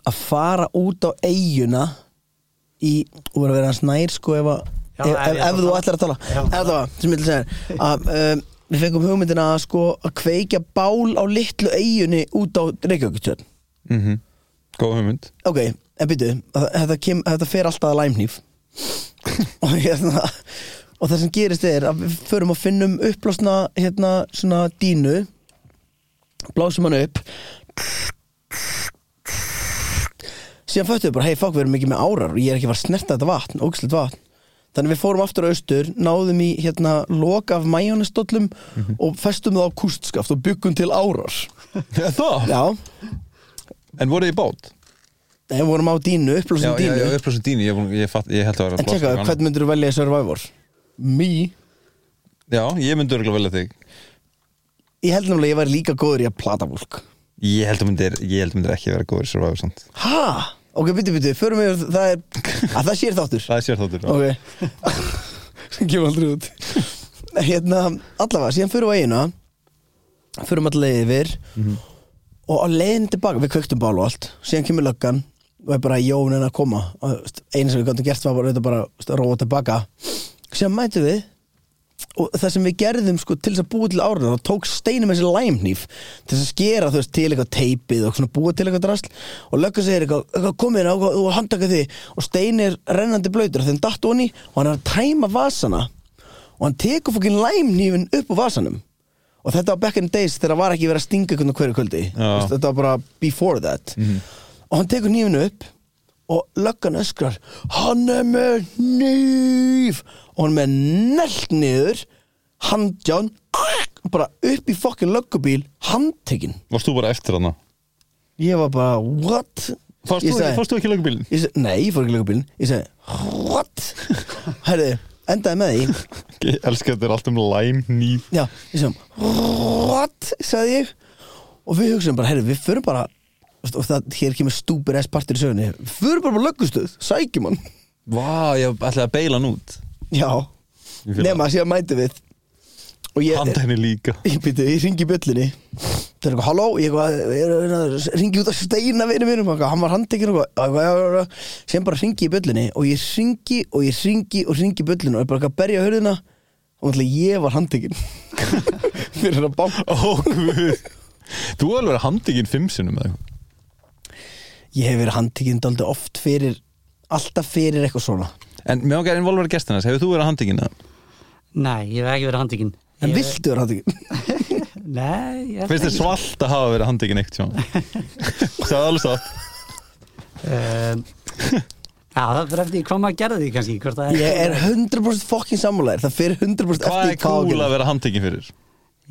Speaker 1: að fara út á eiguna í, og vera að vera hans nær sko ef, að,
Speaker 8: Já,
Speaker 1: ef,
Speaker 8: ef
Speaker 1: ef,
Speaker 8: ég ætla
Speaker 1: ef
Speaker 8: að
Speaker 1: þú
Speaker 8: tala.
Speaker 1: ætlar að tala
Speaker 8: Já.
Speaker 1: ef það var, sem ég vil segja þér, að um, við fengum hugmyndina að sko að kveikja bál á litlu eiginni út á Reykjavíkutjörn
Speaker 2: mm Góð hugmynd
Speaker 1: ok, en byrju, þetta, kem, þetta fer alltaf að læmnýf og, hérna, og það sem gerist er að við förum að finnum upplásna hérna svona dínu blásum hann upp síðan föttum við bara, hei fokk, við erum ekki með árar og ég er ekki að fara að snerta þetta vatn, ógæslegt vatn þannig við fórum aftur á austur, náðum í hérna, lok af majónistollum
Speaker 2: Mhm.
Speaker 1: og festum það á kústskaft og byggum til árar
Speaker 2: Það?
Speaker 1: já,
Speaker 2: En voruð þið í bát?
Speaker 1: en við vorum á dínu,
Speaker 2: Já,
Speaker 1: upplösum
Speaker 2: já,
Speaker 1: dínu
Speaker 2: já, upplössin dínu, ég, ég, fatt, ég held að vera
Speaker 1: en tjekka, hvern myndur þú velja í Survivor? me
Speaker 2: Já, ég myndi örgulega velja þig
Speaker 1: ég held nefnilega að ég væri líka góður í að plata fólk
Speaker 2: Ég held að myndir, ég held að myndir ekki vera góður í Survivor samt
Speaker 1: ha, ok, byttu, byttu, förum við það er, að það sér þáttur
Speaker 2: Það er sér þáttur já.
Speaker 1: ok sem kemur aldrei út hérna, allavega, síðan fyrir á eiginu fyrir allavega yfir og á leiðin tilbaka við kvöktum bál og allt, síðan kemur löggan og er bara jón en að koma og þú veist, eina sem við gáttum gert var bara, auðvitað bara þú veist, að róa tilbaka, síðan mætum við og það sem við gerðum sko til þess að búa til árið þá tók steinum þessi læmnýf til þess að skera þú veist til eitthvað teipið og svona búa til eitthvað drasl og löggan segir eitthvað, eitthvað komin á og handtaka því og stein er rennandi blöytur þegar hann datt onni og hann er að tæma vasana og hann tekur fokkin læmnýfin upp á vasanum og þetta var back in the days þegar það var ekki verið að stinga einhvern á hverju kvöldi
Speaker 2: Já.
Speaker 1: Vist, þetta var bara before that
Speaker 2: Mhm.
Speaker 1: og hann tekur nýfinu upp og löggan öskrar hann er með nýf og hann er með nelt niður handján bara upp í fokkin löggubíl handtekinn
Speaker 2: Varst þú bara eftir hana?
Speaker 1: ég var bara what
Speaker 2: Fórst
Speaker 1: Ég
Speaker 2: þú,
Speaker 1: sagði-
Speaker 2: fórst þú ekki lögubílin?
Speaker 1: ég seg, nei, ég fór ekki löggubílin ég segi, what herri, endaði með því
Speaker 2: Ég elska þetta er allt um læm, nýf
Speaker 1: Já, ég sem What? sagði ég Og við hugsaðum bara, herri, við förum bara og það, hér kemur stúpir S partur í sögunni við förum bara bara löggustuð, sækjum hann
Speaker 2: Vá, ég ætlaði að beila hann út
Speaker 1: Já,
Speaker 2: Ég fíla
Speaker 1: nema að síðan mætum við og ég,
Speaker 2: Handa henni líka
Speaker 1: ég, býtu, ég ringi bjöllunni það er eitthvað, halló, ég eitthvað ringi út að steina vinu mínum eitthvað, hann var handtekinn og eitthvað, eitthvað, eitthvað, eitthvað, sem bara ringi í bjöllunni og ég ringi og ég ringi og ringi í bjöllunni og er bara eitthvað að berja hörðina og náttúrulega ég var handtekinn fyrir að banka
Speaker 2: Ó, guð Þú er alveg handikinn fimm sinnum eða eitthvað
Speaker 1: ég hef verið handtekinn daldi oft fyrir alltaf fyrir eitthvað svona
Speaker 2: En mjög okkar involvera gestina, hefur þú verið handikinn eða?
Speaker 8: Nei, ég hef ekki verið handikinn
Speaker 1: en
Speaker 8: Ég-
Speaker 1: viltu vera handtekinn?
Speaker 8: Nei, ég held
Speaker 2: Finnst þér
Speaker 8: ekki.
Speaker 2: svalt að hafa verið handikinn eitt sjón? Það er alveg satt
Speaker 8: Um, Já, það fyrir eftir hvað maður gerði því kannski hvort það
Speaker 1: ég er 100% fokkin sammálaðir það fyrir 100%
Speaker 2: Hvað
Speaker 1: eftir
Speaker 2: er cool að
Speaker 1: það
Speaker 2: vera handikinn fyrir?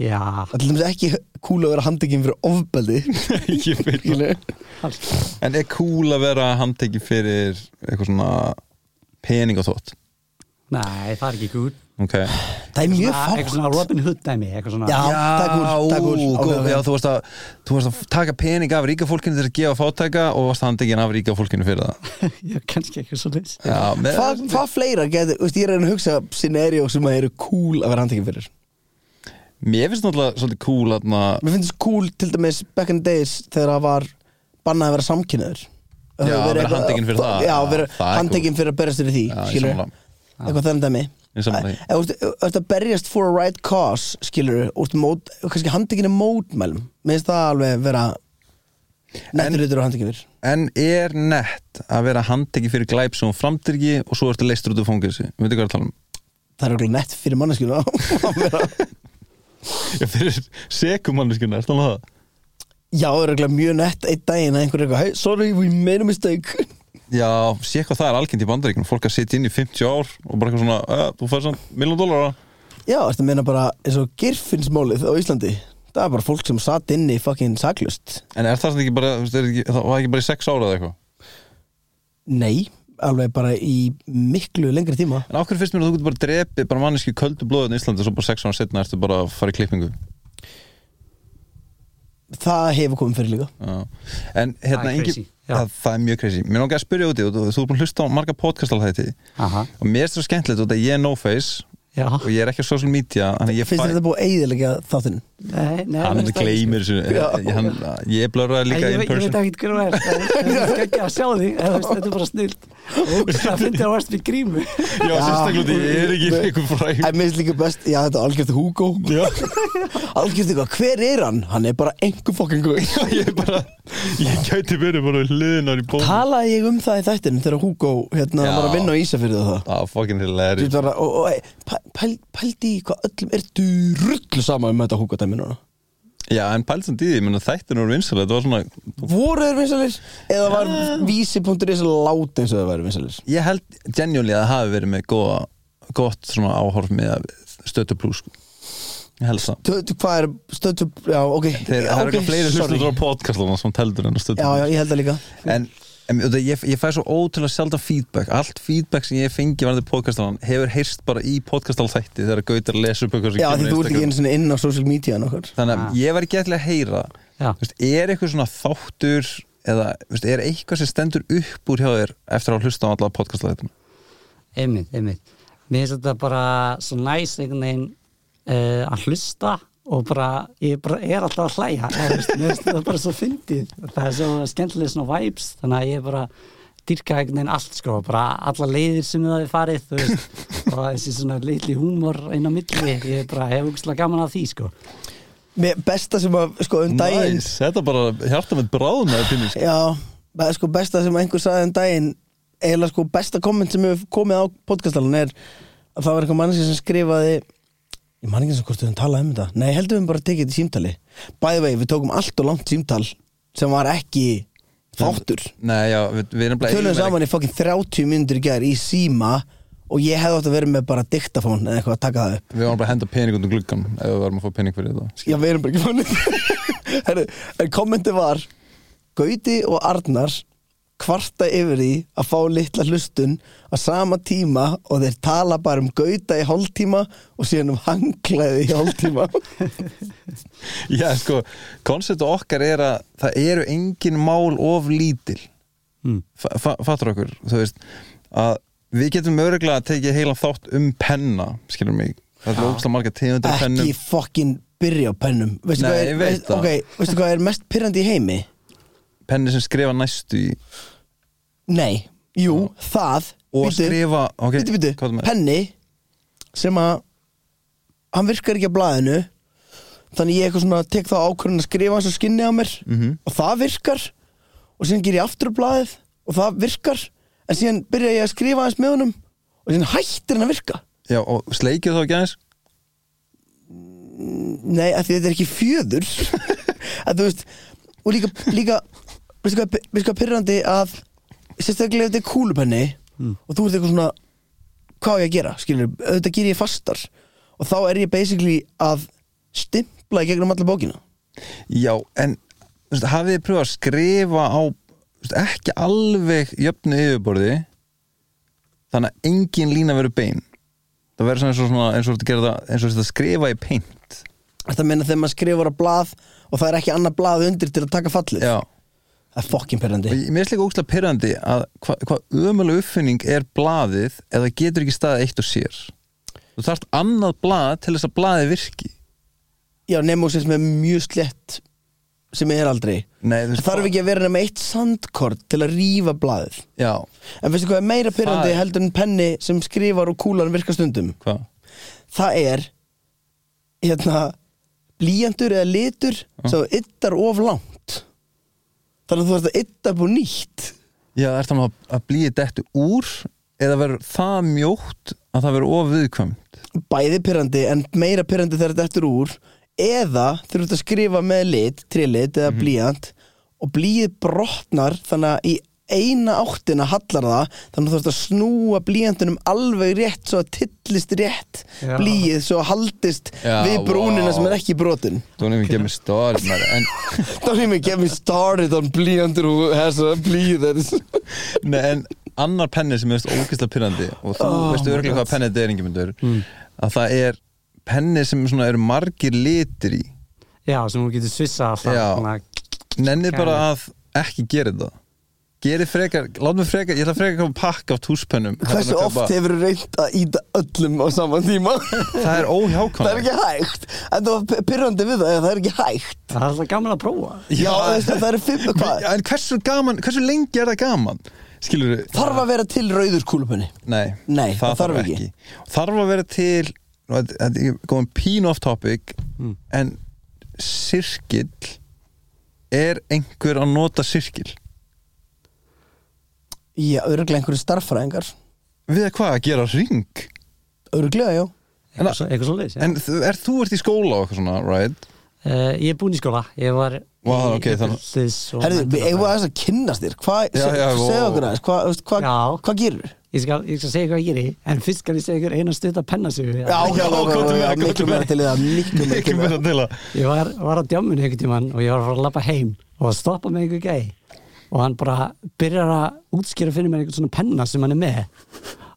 Speaker 8: Já,
Speaker 1: er til dæmis ekki cool að vera handtekinn fyrir ofbeldi
Speaker 2: Ég veit það
Speaker 1: Skilurðu?
Speaker 8: alls-
Speaker 2: En er cool að vera handtekið fyrir eitthvað svona pening og þótt?
Speaker 8: nei, það er ekki gúl
Speaker 2: Ok
Speaker 1: það er mjög
Speaker 8: Eitthvað svona
Speaker 1: fokk
Speaker 8: Robin Hood dæmi Eitthvað svona
Speaker 1: Já. það er cool, það er cool.
Speaker 2: gó-
Speaker 1: Ok, ok.
Speaker 2: Já, þú varst, að, þú varst að taka pening af ríka fólkinu til að gefa fátæka og varst handtekinn af ríka fólkinu fyrir það
Speaker 8: Já, kannski eitthvað svo leys
Speaker 2: Já, með,
Speaker 1: Hvað hva fleira getur, veist, ég er að reyna að hugsa um scenario sem að eru cool að vera handtekinn fyrir
Speaker 2: Mér finnst náttúrulega svolítið cool aðna,
Speaker 1: Mér finnst þessi cool til dæmis back in the days þegar það var bannað að vera samkynniður
Speaker 2: Já, að vera handtekinn fyrir það.
Speaker 1: Já, að vera
Speaker 2: Já, það er
Speaker 1: handtekinn fyrir að berjast fyrir því
Speaker 2: Já, ég
Speaker 1: skilurðu.
Speaker 2: sammála.
Speaker 1: Eitthvað þannig dæmi
Speaker 2: Ég sammála því.
Speaker 1: Ef þú ert- ef þú ert að berjast for a right cause skilur úr mót, kannski handtekinn er mótmælum Mér finnst það alveg vera nettur hlutur og handtekinn fyrir
Speaker 2: En er nett að vera handtekið fyrir glæp sem hún framtyrki og svo ertu leistur út af fóngjössi Veitu hvað ég er að tala um?
Speaker 1: Það er okkur nett fyrir manneskinu að vera-
Speaker 2: Ég fyrir sekumanniskina, ertu
Speaker 1: um
Speaker 2: alveg það?
Speaker 1: Já, það er okkur mjög nett einn daginn að einhver er eitthvað hey, Sorry, we made a mistake
Speaker 2: Já, sé hvað það er algjönd í bandaríknum Fólk að sitja inn í 50 ár og bara eitthvað svona "Eh, Þú fær samt miljón dólarar
Speaker 1: Já, þetta meina bara eins og girfinnsmálið á Íslandi Það er bara fólk sem satt inni fucking saklust
Speaker 2: En er það samt ekki bara, þú veist, er ekki, það var ekki bara í sex ára eða eitthvað?
Speaker 1: Nei, alveg bara í miklu lengri tíma
Speaker 2: En ákveður finnst mér að þú getur bara drepið bara manneski köldu blóðin í Íslandi og svo bara sex ára setna ertu bara að fara í klippingu
Speaker 1: Það hefur komið fyrir líka
Speaker 2: Já. En hérna,
Speaker 8: er
Speaker 2: engin,
Speaker 8: crazy, já.
Speaker 2: það, það er mjög crazy Mér langar að spyrja út í, þú, þú er búin að hlusta á marga podcastalhætti
Speaker 8: Aha.
Speaker 2: og mér er það skemmtilegt út að ég er no face
Speaker 8: Já,
Speaker 2: og ég er ekki á social media Þannig að ég
Speaker 1: Finnst þér þetta búið að eiðilega þáttinn?
Speaker 8: nei, nei
Speaker 2: Hann
Speaker 8: það er
Speaker 2: gleymir þessu
Speaker 1: Já.
Speaker 2: Ég- hann, Ég blörraði
Speaker 8: Ég,
Speaker 2: líka in
Speaker 8: ég, veit- ég veit
Speaker 2: person
Speaker 8: ekki hver þú ert en- en Það er ekki að sjá því en þú veist, Þetta er bara snilt Og það finnst ég að verðst við grímu
Speaker 2: Já, sérstaklega út í, ég er ekki
Speaker 1: Nei.
Speaker 2: eitthvað fræg
Speaker 1: En minnst líka best, já þetta er algjörð Hugo Algjörð eitthvað, hver er hann? Hann er bara einhver fucking guð
Speaker 2: Ég er bara, ég gæti verið bara hliðinar í bóðum
Speaker 1: Talaði ég um það í þættinu þegar Hugo hérna
Speaker 2: Já.
Speaker 1: var að vinna á Ísafyrðu og það
Speaker 2: Það er Ah, fucking hilarious
Speaker 1: Þú veist bara, og, og, og pældi í hvað öllum er du rullu sama um þetta Hugo dæmi núna
Speaker 2: Já, en pælsamt í því, menn að þættin voru vinsalega Þetta var svona,
Speaker 1: Voru þeir vinsalir? Eða var vísi.is lát eins og þeir væri vinsalir?
Speaker 2: ég held genjúli að það hafi verið með góða, gott svona áhorf með að stötu plus sko. Ég held það
Speaker 1: Tötu, hvað er stötu, já, ok
Speaker 2: Þeir,
Speaker 1: Já, ok,
Speaker 2: Það eru eitthvað fleiri
Speaker 1: sorry.
Speaker 2: hlustur á podcastum sem teldur en að stötu
Speaker 1: Já, já, ég held það líka
Speaker 2: en, en þú veit, ég, ég fæ svo ótrúlega sjaldan feedback allt feedback sem ég fengi varðið podcastalan hefur heyrst bara í podcastal þætti þegar gautar lesa upp eitthvað sem
Speaker 1: Já,
Speaker 2: kemur
Speaker 1: því
Speaker 2: á
Speaker 1: þú ert ekki
Speaker 2: Instagram.
Speaker 1: einu sinni inn á social media nokkur
Speaker 2: þannig að ég var ekki ætla að heyra
Speaker 8: Já.
Speaker 2: Þú veist, er eitthvað svona þáttur eða þú veist, er eitthvað sem stendur upp úr hjá þér eftir að hafa hlusta á alla podcastal þættina
Speaker 8: einmitt, einmitt mér finnst þetta bara svo næs einhvern veginn uh, að hlusta og bara, ég bara er alltaf að hlæja eða, veist, mér finnst þetta bara svo fyndið það er svo skemmtilega svona vibes þannig að ég bara dýrka einhvern veginn allt sko, bara alla leiðir sem það er farið þú veist, og þessi svona litli húmor inn á milli, ég bara hef úkslega gaman að því sko
Speaker 1: Mér- Besta sem að, sko, um daginn
Speaker 2: Nice, þetta bara hjarta með bráðnaði pínu sko.
Speaker 1: Já, það er sko besta sem einhver sagði um daginn eiginlega sko besta komment sem hefur komið á podcastalun er að það var eitthvað mannski sem skrifaði ég man ekki eins og hvort við höfum talað um þetta nei, heldur við höfum bara tekið þetta í símtali bæði vegi, við tókum allt og langt símtal sem var ekki þáttur
Speaker 2: Nei, já, við, við erum bara
Speaker 1: tölum saman í fokkin 30 myndur í gær í síma og ég hefði átt að vera með bara diktafón eða eitthvað að taka það upp
Speaker 2: Við varum bara að henda pening út um gluggan ef við varum að fá pening fyrir þetta
Speaker 1: Já, við erum bara ekki fannir Herru, En kommenti var Gauti og Arnar kvarta yfir því að fá litla hlustun á sama tíma og þeir tala bara um Gauta í hálftíma og síðan um hanglaði í hálftíma
Speaker 2: Já, sko, konceptu okkar er að það eru engin mál of lítil mm. Fattur okkur, þú veist að við getum örgulega að tekið heilan þátt um penna, skilur mig Það er ógstlega marga tegundir af
Speaker 1: Ekki
Speaker 2: pennum
Speaker 1: fokkin byrja á pennum veistu
Speaker 2: Nei,
Speaker 1: hvað er,
Speaker 2: ég veit það.
Speaker 1: Ok, veistu hvað er mest pyrrandi í heimi?
Speaker 2: Penni sem skrifa næstu í
Speaker 1: Nei, jú, það
Speaker 2: og
Speaker 1: bíddu,
Speaker 2: skrifa ok,
Speaker 1: Bítu,
Speaker 2: hvað er
Speaker 1: bítu,
Speaker 2: með-
Speaker 1: penni sem að hann virkar ekki á blaðinu þannig ég eitthvað svona tek þá ákvörðin að skrifa hans og skinni á mér -hmm.
Speaker 2: Mhm.
Speaker 1: og það virkar og síðan ger ég aftur á blaðið og það virkar en síðan byrja ég að skrifa hans með honum og síðan hættir hann að virka
Speaker 2: Já, og sleikið þá ekki aðeins
Speaker 1: Nei, af því þetta er ekki fjöður að þú veist og líka, líka veistu hvað, veistu hvað pyrrandi að sérstaklega ef þetta er kúlupenni
Speaker 2: Mm.
Speaker 1: og þú ert eitthvað svona hvað á ég að gera, skilur, auðvitað ger ég fastar og þá er ég basically að stimpla í gegnum alla bókina
Speaker 2: Já, en þú veist, hafið þið pröfað að skrifa á þú veist, ekki alveg jöfnu yfirborði þannig að engin lína verður bein það verður svona eins og svona eins og þetta gera það eins og þetta skrifa í paint
Speaker 1: Þetta meina þegar maður skrifur á blað og það er ekki annað blað undir til að taka fallið
Speaker 2: Já,
Speaker 1: Það er fokkin
Speaker 2: og
Speaker 1: pyrrandi
Speaker 2: ég- mér er slik ógstlega pyrrandi að hvað hva ömulega uppfinning er blaðið eða getur ekki staðið eitt og sér þú þarft annað blað til þess að blaðið virki
Speaker 1: Já, nefnum sem er mjög slett sem er aldrei
Speaker 2: Nei, þú
Speaker 1: Það þarf ekki að vera nema eitt sandkort til að rífa blaðið
Speaker 2: Já,
Speaker 1: En veistu hvað er meira pyrrandi
Speaker 2: Það er-
Speaker 1: heldur en penni sem skrifar og kúlan virka stundum?
Speaker 2: hvað?
Speaker 1: Það er hérna blíjandur eða litur sem þú yttar of langt Þannig að þú ert að ytta upp og nýtt
Speaker 2: Já, er það að, að blíði dettu úr eða verður það mjótt að það verður ofviðkvæmt
Speaker 1: Bæði pyrrandi en meira pyrrandi þegar þetta er eftir úr eða þú ert að skrifa með lit, trillit
Speaker 2: Mhm.
Speaker 1: eða blíjant og blíið brotnar þannig að í eina áttina hallar það þannig að þú ert að snúa blíjantunum alveg rétt svo að tillist rétt
Speaker 8: Já.
Speaker 1: blíið svo að haldist
Speaker 2: Já,
Speaker 1: við brúnina
Speaker 2: vá.
Speaker 1: sem er ekki brotin
Speaker 2: Þú nefnir ekki með stóri maður, en,
Speaker 1: Don't even get me started on blíjantur who has a blíð that is-
Speaker 2: nei, en annar penni sem er ógeðslega pyrrandi og þú
Speaker 1: Oh
Speaker 2: veistu
Speaker 1: my God.
Speaker 2: örglega
Speaker 1: Mm.
Speaker 2: hvað penni þetta er engin myndur að það er penni sem svona eru margir litir í
Speaker 8: já, sem hún getur svissa alltaf
Speaker 2: Já.
Speaker 8: svona-
Speaker 2: Nennið bara
Speaker 8: Kæri.
Speaker 2: að ekki gera þetta Gerið frekar, lát mig frekar, ég ætla frekar að koma pakka af túspennum
Speaker 1: Hversu
Speaker 2: Heldur en að
Speaker 1: oft
Speaker 2: kaupa-
Speaker 1: hefur þú reynt að íta öllum á saman tíma?
Speaker 2: Það er
Speaker 1: það er
Speaker 2: óhjákvæmlega
Speaker 1: ekki hægt En það var pyrrandi við það, það er ekki hægt
Speaker 8: það er alltaf gaman að prófa
Speaker 1: Já, veistu, það eru fimm hvað?
Speaker 2: En hversu gaman, hversu lengi er það gaman? Skilur
Speaker 1: Þarf að vera til rauður kúlupenni
Speaker 2: Nei,
Speaker 1: Nei, það þarf ekki.
Speaker 2: Þarf að vera til og Þetta þetta er góðan pínu off topic
Speaker 8: Hmm.
Speaker 2: En sirkill Er einhver að nota sirkill?
Speaker 1: Já, öruglega einhverju starffræðingar
Speaker 2: Við að hvað að gera ring?
Speaker 1: Öruglega, já
Speaker 8: eitthvað svo leiðis
Speaker 2: En þú- er, þú ert í skóla og eitthvað svona, right?
Speaker 8: Uh, ég er búin í skóla Ég var
Speaker 2: Vá, ok, þannig-
Speaker 8: þannig
Speaker 1: Herðu, við eigum aðeins að kynnast þér Hvað,
Speaker 2: Já, já,
Speaker 1: segðu
Speaker 2: vó.
Speaker 1: okkur aðeins, hvað, veist, hvað,
Speaker 8: Já.
Speaker 1: hvað gerur?
Speaker 8: Ég skal, ég skal segja hvað ég geri En fyrst skal ég segja ykkur eina stutt að penna sig
Speaker 1: Já, já, já,
Speaker 2: komdu
Speaker 1: já,
Speaker 2: með
Speaker 1: já,
Speaker 2: það, komdu
Speaker 1: miklu
Speaker 2: með
Speaker 1: meira til í það, miklu meira til í
Speaker 2: Ekki með
Speaker 1: það
Speaker 2: það til að
Speaker 8: Ég var, var á djáminu einhvern tímann og ég var að fara að lappa heim og að stoppa með einhver gæ og hann bara byrjar að útskýra fyrir mér einhvern svona penna sem hann er með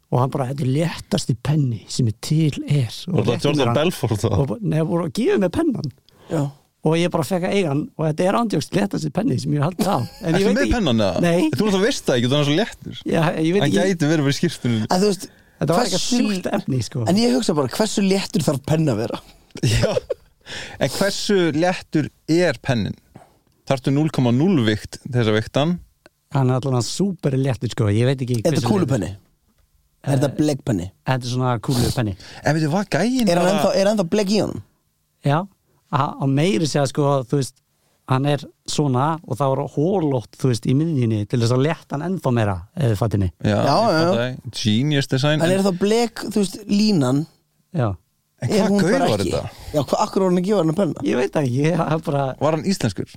Speaker 8: og hann bara, þetta er léttasti penni sem er til er
Speaker 2: Var það
Speaker 8: réttir
Speaker 2: Jordan
Speaker 8: mér hann.
Speaker 2: Belfort þá?
Speaker 8: og, bara- nei, og gefið mér pennan
Speaker 1: Já.
Speaker 8: og ég bara fekk að eiga hann og þetta er ándjókst léttasti penni sem ég haldið á en ég
Speaker 2: Ertu
Speaker 8: veit
Speaker 2: með pennan eða?
Speaker 8: Nei,
Speaker 2: Þú náttúrulega veist það ekki, þú er náttúrulega léttur
Speaker 8: já, ég veit
Speaker 2: Hann
Speaker 8: ekki
Speaker 2: gæti verið bara í skýrstunum
Speaker 1: En þú veist,
Speaker 8: Þetta var eitthvað sjúkt efni, sko.
Speaker 1: En ég hugsa bara, hversu léttur þarf penna að vera?
Speaker 2: Já En hversu léttur er pennin? Þarftu 0,0 vikt til þess að viktan
Speaker 8: hann er allan super léttur sko, ég veit ekki
Speaker 1: Er
Speaker 8: hversu
Speaker 1: þetta kúlupenni? Er þetta bleggpenni?
Speaker 8: Þetta er svona kúlu penni
Speaker 2: En veitu, var gæin
Speaker 1: Er hann
Speaker 2: bara-
Speaker 1: ennþá, er ennþá blegg í honum?
Speaker 8: Já, a- og meiri segja sko, þú veist, hann er svona og það var hólótt, þú veist, í miðjunni til þess að létta hann ennþá meira, eh, eða fattinni.
Speaker 1: Já,
Speaker 2: Já, ég
Speaker 1: já, já.
Speaker 2: fattaði. Genius design
Speaker 1: En er þá blegg, þú veist, línan
Speaker 8: Já,
Speaker 2: En
Speaker 1: er
Speaker 2: hvað
Speaker 1: hún
Speaker 2: gaur
Speaker 1: bara
Speaker 2: var
Speaker 1: ekki?
Speaker 2: þetta?
Speaker 1: Já, hvað akkur var hann að gefa hann að penna?
Speaker 8: ég veit ekki, ég hef bara,
Speaker 2: Var hann íslenskur?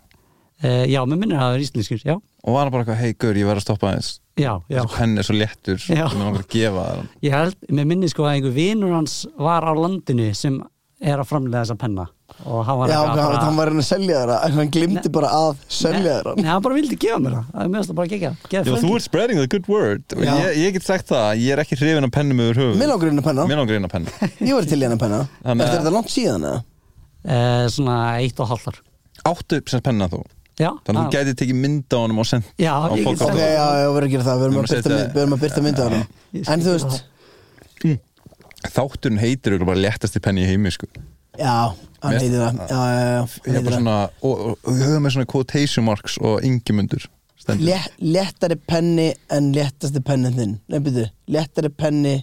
Speaker 8: uh, já, mér minnir að það er íslenskur, já,
Speaker 2: Og var hann bara eitthvað, hei gaur, ég verð að stoppa aðeins
Speaker 8: já, já.
Speaker 2: Þessi penn er svo léttur sem
Speaker 8: Já.
Speaker 2: ég langar að gefa þér hann
Speaker 8: Ég held, mér minnir sko að einhver vinur hans var á landinu sem er að framlega þessa penna og hann var
Speaker 1: Já,
Speaker 8: eitthvað
Speaker 1: hann, hann var hann að selja þér að- en hann glimti bara að selja þér hann
Speaker 8: Eh, Nei, hann bara vildi gefa mér það, það er mjög að bara gegja,
Speaker 2: Já,
Speaker 8: gefa
Speaker 2: þú ert spreading the good word og
Speaker 1: Já.
Speaker 2: ég, ég get sagt það, að ég er ekki hrifin af pennum yfir höfuð
Speaker 1: Mér langar inn að penna,
Speaker 2: Mér langar inn að penna
Speaker 1: ég var til í hann að penna
Speaker 2: Þannig
Speaker 1: Þetta
Speaker 2: að-
Speaker 1: er þetta langt síðan eða?
Speaker 8: Uh, svona eitt og hálfar.
Speaker 2: Áttu sem penna þú
Speaker 8: Já,
Speaker 2: Þannig að þú gæti tekið mynd á honum og sendt
Speaker 8: Já,
Speaker 2: á
Speaker 8: ég get
Speaker 2: fólk á
Speaker 8: sagt
Speaker 1: Ok,
Speaker 2: það.
Speaker 1: já, já, við erum að gera það, við erum
Speaker 2: Við
Speaker 1: að birta
Speaker 2: setja-
Speaker 1: mynd- við erum að byrta mynda hann
Speaker 8: Ég
Speaker 1: En þú
Speaker 8: skil
Speaker 1: veist,
Speaker 2: Þátturinn heitir ykkur bara léttasti penni í heimi sko.
Speaker 1: já, hann
Speaker 2: Mér-
Speaker 1: heitir það Já, já, já,
Speaker 2: Ég
Speaker 1: hann
Speaker 2: er bara
Speaker 1: heitir það
Speaker 2: svona og, og, og við höfum með svona quotation marks og yngimundur stendur.
Speaker 1: Lé- Léttari penni en léttasti pennin þinn Nei, byrju, léttari penni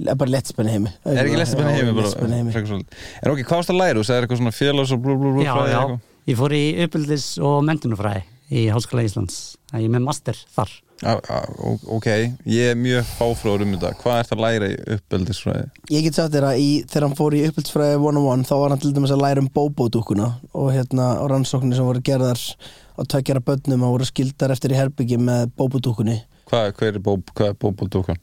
Speaker 1: er bara léttspenni heimi
Speaker 2: Er ekki léttasti penni í heimi?
Speaker 1: Já,
Speaker 2: Bara,
Speaker 1: léttspenni heimi.
Speaker 2: frekar svolítið. er ok, hvað varst að læra? Þú sagðir eitthvað svona félags og blú blú blú
Speaker 8: já,
Speaker 2: fræði
Speaker 8: já,
Speaker 2: eitthvað.
Speaker 8: ég fór í uppeldis og mentunufræði í Háskóla Íslands ég er með master þar
Speaker 2: Á- á- ó- Ok, ég er mjög fáfróður um þetta Hvað ert að læra í uppeldisfræði?
Speaker 1: Ég get sagt þér að í, þegar hann fór í upphaldsfræði 101 þá var hann til dæmis að læra um bóbódúkuna og hérna og rannsóknir sem voru gerðar á tökjara börnum og voru skildar eftir í herbyggi með bóbódúkunni
Speaker 2: Hvað, hver er bób, hvað er bóbóldúkan?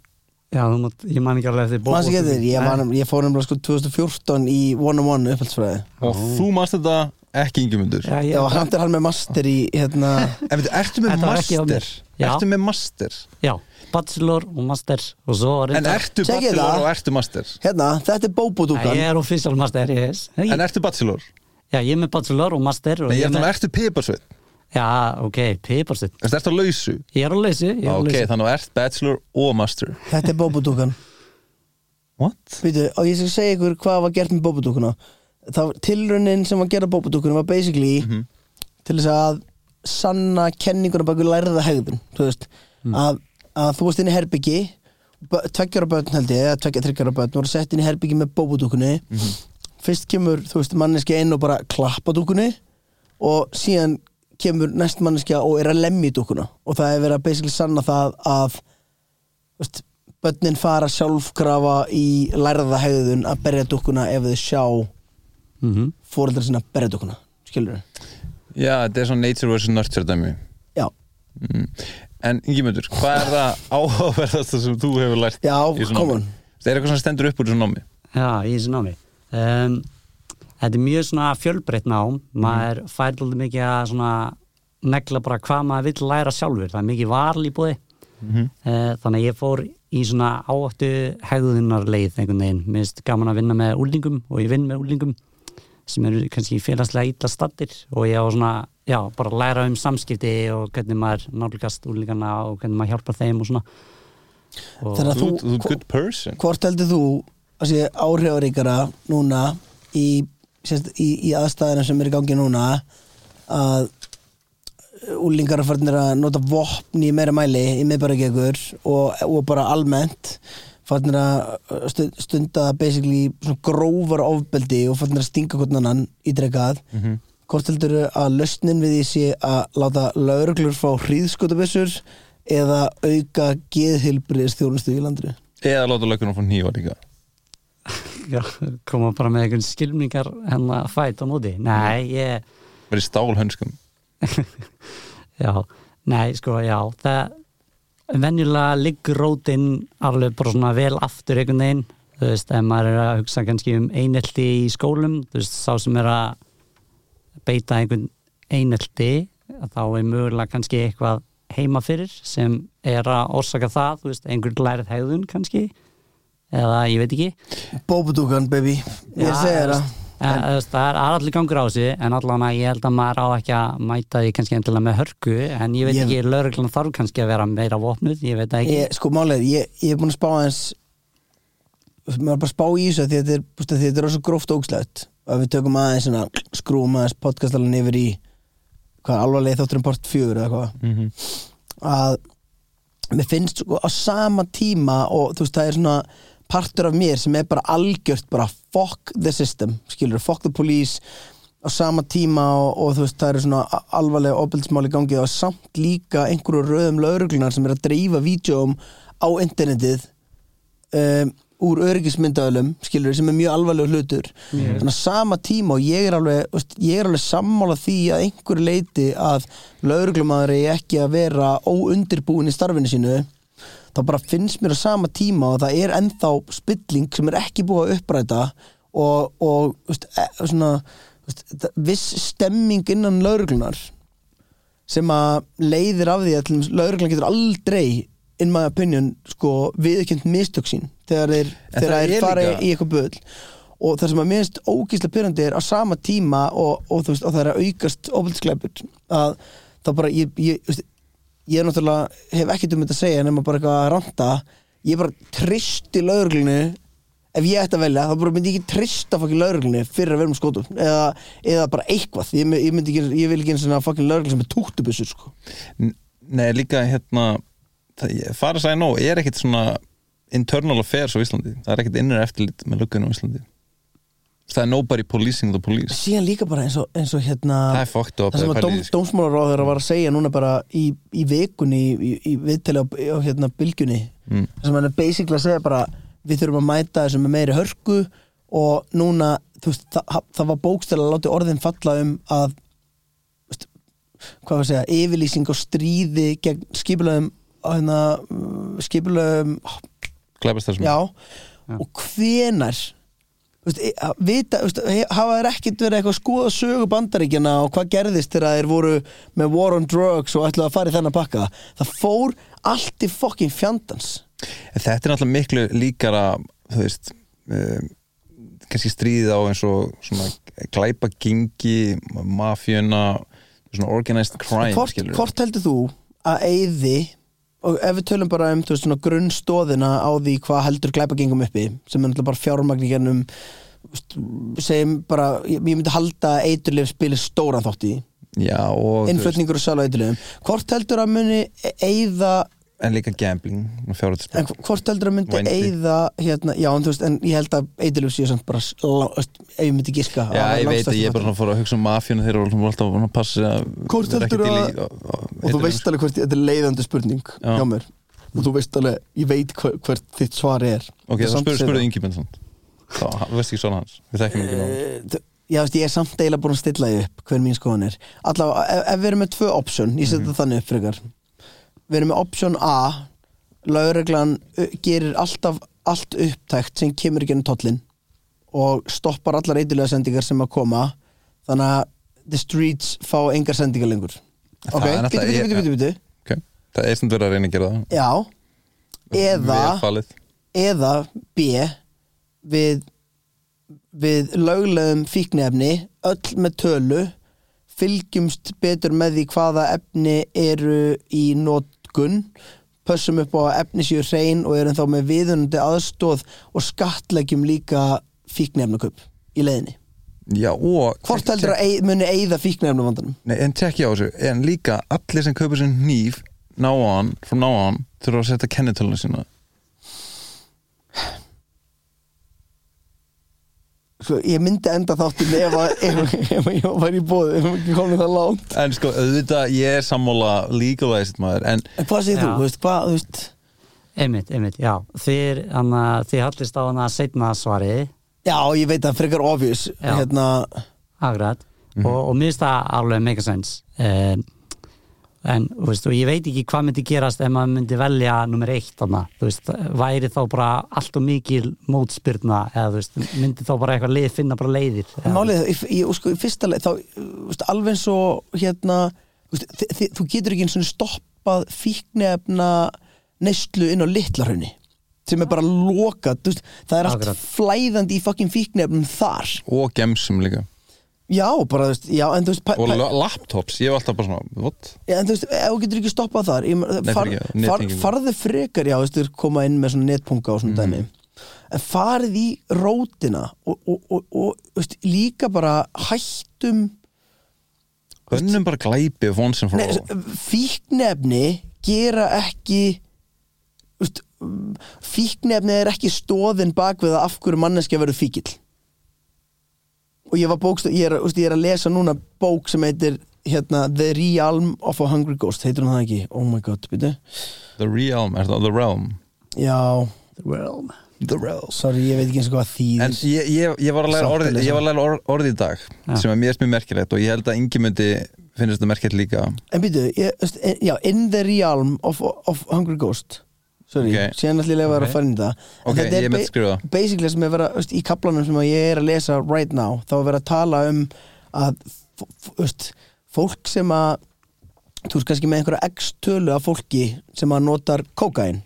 Speaker 8: já, þú mátt, ég man ekki alveg eftir bók-
Speaker 1: Manns ekki eftir, ég, var, ég fór nefnilega sko 2014 í 101 upphaldsfræði
Speaker 2: Og þú manst þetta ekki yngimundur
Speaker 8: já,
Speaker 1: Já,
Speaker 8: ég,
Speaker 1: hann er hann með master í hérna
Speaker 2: En veitu, ertu með
Speaker 8: Þetta var ekki á mér.
Speaker 2: master?
Speaker 8: Já.
Speaker 2: Ertu með master?
Speaker 8: já, bachelor og master og svo var
Speaker 2: En ertu
Speaker 1: Tekið það.
Speaker 2: bachelor og ertu master?
Speaker 1: hérna, þetta er bóbódúkan
Speaker 8: ég er official master yes. ég,
Speaker 2: En ertu bachelor?
Speaker 8: já, ég er með bachelor og master og
Speaker 2: Nei, ég
Speaker 8: er
Speaker 2: ætla að
Speaker 8: með,
Speaker 2: ertu piparsveit
Speaker 8: já, ok, piparsett
Speaker 2: Ertu ertu að lausu?
Speaker 8: ég er á lausu, ég
Speaker 2: Já,
Speaker 8: er á
Speaker 2: ok,
Speaker 8: lausu
Speaker 2: þannig að ert bachelor og master
Speaker 1: Þetta er bóbódúkan
Speaker 2: What?
Speaker 1: Býtu, og ég skal segja ykkur hvað var gert með bóbadúkuna Það var tilraunin sem var gerð á bóbadúkuna var basically til þess að sanna kenninguna baku læriða hegðun þú veist, að, að þú varst inn í herbyggi tveggjara börn held ég eða tveggja þryggjara börn voru sett inn í herbyggi með bóbadúkunni fyrst kemur, þú veist, manneski inn og bara klappa dúkunni og síðan kemur næst manneskja og er að lemja í dúkuna og það er verið að basically sanna það að veist, börnin fara sjálfkrafa í lærða hegðun að berja dukkuna ef þau sjá
Speaker 8: mm
Speaker 1: fóreldra sinna berja dukkuna skilur þau?
Speaker 2: Já, þetta er svona nature vs. nurture dæmi
Speaker 1: Já,
Speaker 2: mm. En Ingimundur, hvað er það áhugaverðasta sem þú hefur lært
Speaker 1: Já,
Speaker 2: í þessu námi?
Speaker 1: come on.
Speaker 2: Það er eitthvað sem stendur upp úr þessu námi
Speaker 8: já, í þessu námi um, þetta er mjög svona fjölbreytt nám maður fær alltaf mikið að svona negla bara hvað maður vill læra sjálfur það er mikið varl í búið Eh, þannig að ég fór í svona áættu hegðunarleið einhvern veginn mér finnst gaman að vinna með úlingum og ég vinn með úlingum sem eru kannski félagslega illa stattir og ég á svona, já, bara að læra um samskipti og hvernig maður nálgast úlingana og hvernig maður hjálpar þeim og svona og
Speaker 1: þegar
Speaker 2: Þú
Speaker 1: þú,
Speaker 2: þú ert good person
Speaker 1: hvort heldur þú að sé áhrifaríkara núna í, sérst, í, í aðstæðina sem er í gangi núna að úlingar að farnir að nota vopn í meira mæli í miðbæragegur og, og bara almennt farnir að uh, stu- stunda basically svona grófar ofbeldi og farnir að stinga hvernig annan í dregað hvort heldur að lausnin við því sé að láta lauruglur fá hríðskotabessur eða auka geðhilbriðis þjónustu í landri
Speaker 2: Eða láta lökunum frá nýja líka
Speaker 8: líka koma bara með einhvern skilmingar hennar fæt á móti nei, ég,
Speaker 2: verið stálhönskum
Speaker 8: já nei, sko, já, það venjulega liggur rótin alveg bara svona vel aftur einhvern veginn þú veist, ef maður er að hugsa kannski um einelti í skólum, þú veist, sá sem er að beita einhvern einelti, að þá er mögulega kannski eitthvað heima fyrir sem er að orsaka það, þú veist, einhvern lærið hegðun kannski eða ég veit ekki
Speaker 1: Bóbudúkan, baby Ég
Speaker 8: Já,
Speaker 1: segi þér það
Speaker 8: þú veist, en, en, veist, það er það er allir gangur á þessu en allan að ég held að maður á ekki að mæta því kannski endilega með hörku en ég veit
Speaker 1: Ég-
Speaker 8: ekki, lögreglan þarf kannski að vera meira vopnuð, ég veit það ekki
Speaker 1: ég, sko málið, er, ég, ég er búin að spá aðeins mér var bara að spá í þessu af því að þetta er, búst, því að þetta er rosa gróft ógslægt að við tökum aðeins svona, skrúum aðeins podcastalan yfir í hvað alvarlega þáttur um part 4 eða hvað
Speaker 2: Mhm.
Speaker 1: að mér finnst sko á sama tíma og þú veist það er svona partur af mér sem er bara algjört bara fuck the system, skilur, fuck the police á sama tíma og, og þú veist það eru svona a- alvarlega opildsmáli gangi og samt líka einhverju röðum lauruglunar sem er að dreifa vídjóum á internetið um, úr öryggismyndaðalum skilur sem er mjög alvarlega hlutur þannig að sama tíma og ég er alveg þú veist, ég er alveg sammála því að einhverju leiti að lauruglumæður er ekki að vera óundirbúin í starfinu sínu þá bara finnst mér á sama tíma og það er ennþá spilling sem er ekki búið að uppræta og, og þú veist, e, svona þú veist, þetta- viss stemming innan lauruglunar sem að leiðir af því að til dæmis lauruglan getur aldrei in my opinion sko viðkjönd mistök sín þegar þeir,
Speaker 2: En
Speaker 1: þegar
Speaker 2: það
Speaker 1: þeir
Speaker 2: er
Speaker 1: fara
Speaker 2: líka-
Speaker 1: í eitthvað böll og það sem að minnst ógísla pyrrandi er á sama tíma og, og, þú veist, og það er að aukast ofaldiskleipur að það bara ég, ég, þú veist, ég er náttúrulega, hef ekkert um þetta að segja nema bara eitthvað að ranta ég bara tristi lauruglunu ef ég ætti að velja, þá bara myndi ég ekki trista fokkin lauruglunu fyrir að vera með skotum eða, eða bara eitthvað, ég, my- ég, myndi ekki, ég vil ekki eins og fokkin lauruglun sem er túktubissur sko.
Speaker 2: N- Nei, líka hérna það- ég- fara að segja nóg, er ekkit svona internal affairs á Íslandi það er ekkit innra eftirlit með löggunum á Íslandi það er nobody policing the police
Speaker 1: síðan líka bara eins og, eins og hérna
Speaker 2: það er fucked up
Speaker 1: það sem að
Speaker 2: eða pælið
Speaker 1: dóm,
Speaker 2: í því, sko.
Speaker 1: dómsmálaráður var að segja núna bara í, í vikunni í, í viðtali á, á hérna, bylgjunni
Speaker 2: Mm.
Speaker 1: það sem hann er basically að segja bara við þurfum að mæta þessu með meiri hörku og núna þú veist, það, það var bókstæla að láti orðin falla um að þú veist, hvað var að segja, yfirlýsing og stríði gegn skipulöðum hérna, skipulöðum
Speaker 2: glæpast þessum
Speaker 1: já, og hvenar þú veist, e, að vita, þú veist, he- hafa þeir ekkert verið eitthvað að skoða sögu bandaríkjana og hvað gerðist þegar þeir voru með war on drugs og ætlaðu að fara í þennan pakka það fór allt í fokkin fjandans
Speaker 2: En þetta er náttúrulega miklu líkara þú veist um, kannski stríðið á eins og svona glæpa gengi mafjöna, svona organized crime
Speaker 1: hvort,
Speaker 2: skilurðu.
Speaker 1: hvort heldur þú að eyði og ef við tölum bara um þú veist, svona grunnstóðina á því hvað heldur glæpagengum uppi sem er náttúrulega bara fjármagn í gennum sem bara, ég, ég myndi halda að eiturlif spilir stóran þátt í því.
Speaker 2: já, og, þú veist,
Speaker 1: innflutningur og sala eitthilum hvort heldur að muni eða
Speaker 2: en líka gambling og fjárhættisspil.
Speaker 1: en hvort heldur að myndi
Speaker 2: Vændi.
Speaker 1: eða hérna, já en þú veist, en ég held að eitthilum séu samt bara, s- lá- veist, ef ég myndi giska
Speaker 2: Já,
Speaker 1: að það er
Speaker 2: ég veit að
Speaker 1: langstærsti
Speaker 2: ég er bara
Speaker 1: þátturinn.
Speaker 2: að fóra að hugsa um mafjuna þeirra og svona alltaf að passa sig að
Speaker 1: Hvort
Speaker 2: vera ekki
Speaker 1: heldurðu
Speaker 2: til í-
Speaker 1: að-
Speaker 2: á- á-
Speaker 1: og þú
Speaker 2: eiturlyfjum,
Speaker 1: veist alveg hvert, þetta er leiðandi spurning
Speaker 2: Já.
Speaker 1: hjá mér og þú veist alveg, ég veit hver, hvert þitt svar er
Speaker 2: sko. ok,
Speaker 1: Það er
Speaker 2: þá
Speaker 1: samt
Speaker 2: spurðu
Speaker 1: sem-
Speaker 2: spurðu Ingimenn þá, hann- þú veist ekki svona hans við þekkjum ekki náttúrulega
Speaker 1: Eh, þú- Já, veist, ég er samt eiginlega búin að stilla því upp hver mín skoðan er allavega, ef, ef við erum með tvö option ég
Speaker 2: Mhm.
Speaker 1: setja þannig upp frekar við erum með option A lögreglan uh, gerir alltaf allt upptækt sem kemur ekki enn tóllin og stoppar allar eitulega sendingar sem að koma þannig að the streets fá engar sendingar lengur
Speaker 2: Það
Speaker 1: ok,
Speaker 2: er náttúrulega-
Speaker 1: bitu, bitu, bitu, bitu, bitu
Speaker 2: ok, það er sem verið að reyna að gera það
Speaker 1: já, eða
Speaker 2: Vel falið.
Speaker 1: eða B við, við löglegum fíknefni öll með tölu fylgjumst betur með því hvaða efni eru í nótgun pössum upp á að efni séu hrein og erum þá með viðunandi aðstóð og skattleggjum líka fíknefnakup í leiðinni.
Speaker 2: já, og
Speaker 1: Hvort heldur að ei- muni eigða fíknefnavandanum?
Speaker 2: Nei, en tekja á þessu, en líka allir sem kaupir sér nýf náan, frá náan, þurfa að setja kennitöluna sína
Speaker 1: Svo ég myndi enda þáttum ef, að- ef, ef ég var í bóði, ef við ekki komum það langt.
Speaker 2: En sko, auðvitað, ég er sammála legalized maður, en
Speaker 1: En hvað segir þú?
Speaker 8: Já.
Speaker 1: Þú veist, hvað, þú veist,
Speaker 8: einmitt, einmitt, já þið, hana, þið hallist á hana setna svari
Speaker 1: Já, ég veit að frekar obvious
Speaker 8: Já.
Speaker 1: Hérna,
Speaker 8: Akkurat og, og mér finnst það alveg mega sens um, en þú veist, og ég veit ekki hvað myndi gerast ef maður myndi velja nummer eitt þarna, þú veist, væri þá bara allt og mikil mótspyrna eða þú veist, myndi þá bara eitthvað leið finna bara leiðir eða,
Speaker 1: málið, ég, ég, sko, í fyrsta leið þá, þú veist, alveg eins og hérna, þú veist, þi- þi- þú getur ekki eins og stoppað fíknefna neyslu inn á litlarhraunni sem er bara lokað, þú veist, það er allt
Speaker 8: Akkurat.
Speaker 1: flæðandi í fucking fíknefnum þar
Speaker 2: og gemsum líka
Speaker 1: já, bara, þú veist, já, en þú veist pæ-
Speaker 2: og
Speaker 1: pæ-
Speaker 2: la- laptops, ég var alltaf bara svona what?
Speaker 1: Já, en þú veist, ef þú getur ekki stoppað þar ég meina,
Speaker 2: Nei,
Speaker 1: far,
Speaker 2: fyrir ekki,
Speaker 1: far,
Speaker 2: nettengingu. Mhm.
Speaker 1: farðu frekar, já, þú veist, þeir koma inn með svona netpunga og svona dæmi en farið í rótina og, og, og, og þú veist, líka bara hættum
Speaker 2: önnum bara glæpi of once and for
Speaker 1: nei,
Speaker 2: all
Speaker 1: s- fíknefni Eh, gera ekki þú veist, mm, fíknefni er ekki stóðin bak við að af hverju manneskja verður fíkil og ég var bókst ég er, þú veist, ég er að lesa núna bók sem heitir hérna, The Realm of a Hungry Ghost heitir hún það ekki, oh my god, byrju
Speaker 2: the realm, er það the realm
Speaker 1: Já,
Speaker 8: realm
Speaker 2: the realm
Speaker 1: sorry, ég veit ekki eins og hvað þýðir
Speaker 2: En ég, ég, ég var að læra
Speaker 1: Sátt að
Speaker 2: orðið
Speaker 1: lesa.
Speaker 2: ég var að læra orð, orðið í dag sem er mér mjög merkilegt og ég held að yngi myndi finnst þetta merkilegt líka
Speaker 1: En býtu, ég, veist, en- já, in the realm of, of Hungry Ghost Sorry,
Speaker 2: Ok.
Speaker 1: síðan ætlum ég að vera að fara inn í það En
Speaker 2: Ok,
Speaker 1: þetta er
Speaker 2: ég myndi
Speaker 1: ba-
Speaker 2: skrifa það.
Speaker 1: Basically sem er vera, veist, í kaplanum sem að ég er að lesa right now þá er vera að tala um að f- f- veist, fólk sem að þú veist kannski með einhverja x-tölu af fólki sem að notar kókain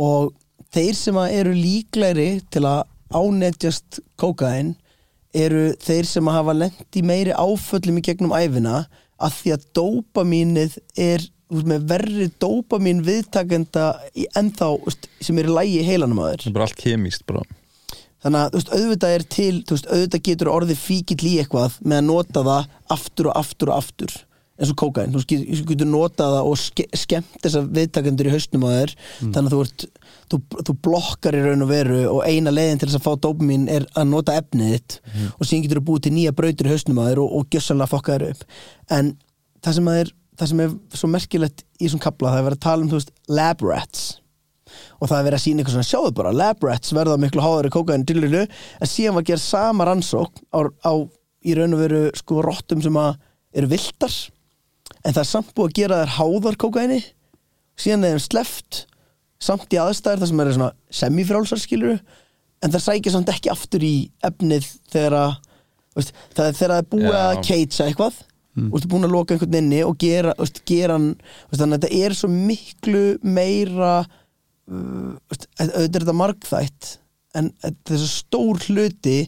Speaker 1: og þeir sem að eru líklæri til að ánetjast kókain eru þeir sem að hafa lent í meiri áföllum í gegnum æfina að því að dópamínið er úr, með verri dópamín viðtakenda í, ennþá úst, sem er í lægi heilanum að
Speaker 2: það
Speaker 1: þér
Speaker 2: er bara allt kemíst bara.
Speaker 1: þannig að þú veist, auðvitað er til þú veist, auðvitað getur orðið fíkill í eitthvað með að nota það aftur og aftur og aftur eins og kókain, þú veist, getur- þú getur notað það og ske, skemmt þessar viðtakendur í hausnum að þér þannig að þú, ert, þú, þú blokkar í raun og veru og eina leiðin til þess að fá dópamín er að nota efnið þitt og síðan getur þú búið til nýja brautir í hausnum að þér og, og gjössalega fokka þér upp en það sem, að er, það sem er svo merkilegt í þessum kapla það er verið að tala um þú veist, lab rats og það er verið að sína eitthvað svona sjáðu bara, lab rats verða miklu háðari kókaðinu dillinu en síðan var gerð sama rannsók á, á í raun og veru sko rottum sem að eru viltar en það er samt búið að gera þær háðar kókaðinu síðan er þeim sleppt samt í aðstæður þar sem er svona semifrálsar skilur en það sækja samt ekki aftur í efnið þegar að veist, það er þegar það er búið
Speaker 2: Já.
Speaker 1: að keitsa eitthvað mm. veist, búin að loka einhvern inni og gera, veist, gera hann, veist, þannig að þetta er svo miklu meira uh, veist, auðvitað er þetta margþætt en þetta er svo stór hluti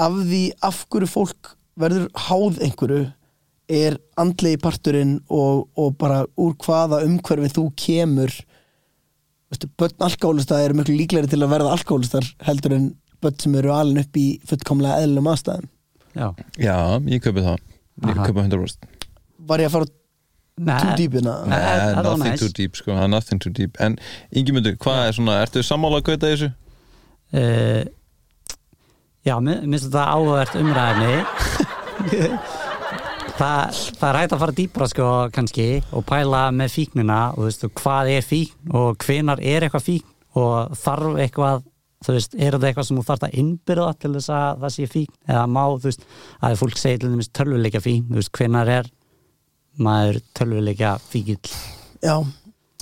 Speaker 1: af því af hverju fólk verður háð einhverju er andlegi parturinn og, og bara úr hvaða umhverfi þú kemur veistu, börn alkohólista eru miklu líklegri til að verða alkohólistar heldur en börn sem eru alin upp í fullkomlega eðlum aðstæðum
Speaker 8: já.
Speaker 2: já, ég kaupi það ég
Speaker 8: Aha.
Speaker 2: kaupi 100%
Speaker 1: var ég að fara too deep in að
Speaker 8: Nei, það
Speaker 2: Nei,
Speaker 8: var
Speaker 2: nothing
Speaker 8: næs.
Speaker 2: too deep sko, það er nothing too deep en yngi hvað er svona, ertu sammála að kauta þessu?
Speaker 8: uh, já, mér mér finnst þetta áhugavert umræðinni Þa, það er hægt að fara dýpra sko kannski og pæla með fíknina og þú veist, og hvað er fíkn og hvenar er eitthvað fíkn og þarf eitthvað þú veist, er þetta eitthvað sem þú þarf að innbyrða til þess að það sé fíkn eða má, þú veist, að fólk segir til þess tölvuleika fíkn, þú veist, hvenar er maður tölvuleika fíkill
Speaker 1: Já,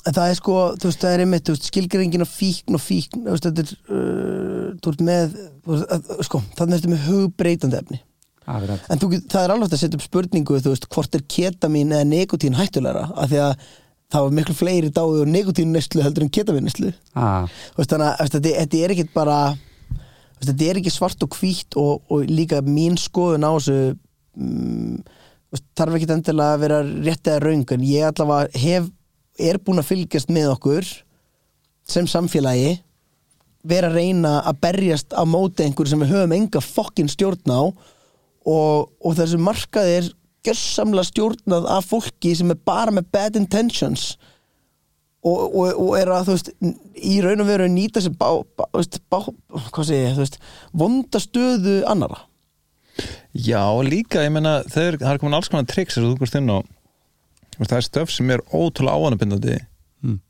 Speaker 1: en það er sko, þú veist, það er einmitt þú veist, skilgreiningin af fíkn og fíkn þú veist, þetta er, uh, þú ert með þú veist, að, sko, þannig ertu með hugbreytandi efni
Speaker 8: Akkurat.
Speaker 1: en þú, get- það er alveg hægt að setja upp spurningu þú veist, hvort er ketamin eða nikotín hættulegra af því að það var miklu fleiri dáið og nikotín neslu heldur en ketamin neslu
Speaker 8: Ah,
Speaker 1: Þú veist, þannig að þú veist, þetta þetta er ekkit bara þú veist, þetta er ekki svart og hvítt og, og líka mín skoðun á þessu mm, þú veist, þarf ekkit endilega að vera rétt eða raung en ég allavega hef, er búin að fylgjast með okkur sem samfélagi vera að reyna að berjast á móti einhverju sem við höfum enga fokkin stjórn á og, og þessu markaði er gjörsamlega stjórnað af fólki sem er bara með bad intentions og, og, og er að þú veist í raun og veru nýta sér bá, bá, þú veist, bá, hvað segi ég, þú veist vonda stöðu annara
Speaker 2: Já, líka, ég meina þeir, það er komin alls konar triks sem þú komst inn á
Speaker 8: Hmm.
Speaker 2: Þú veist, það er stöf sem er ótrúlega áanabindandi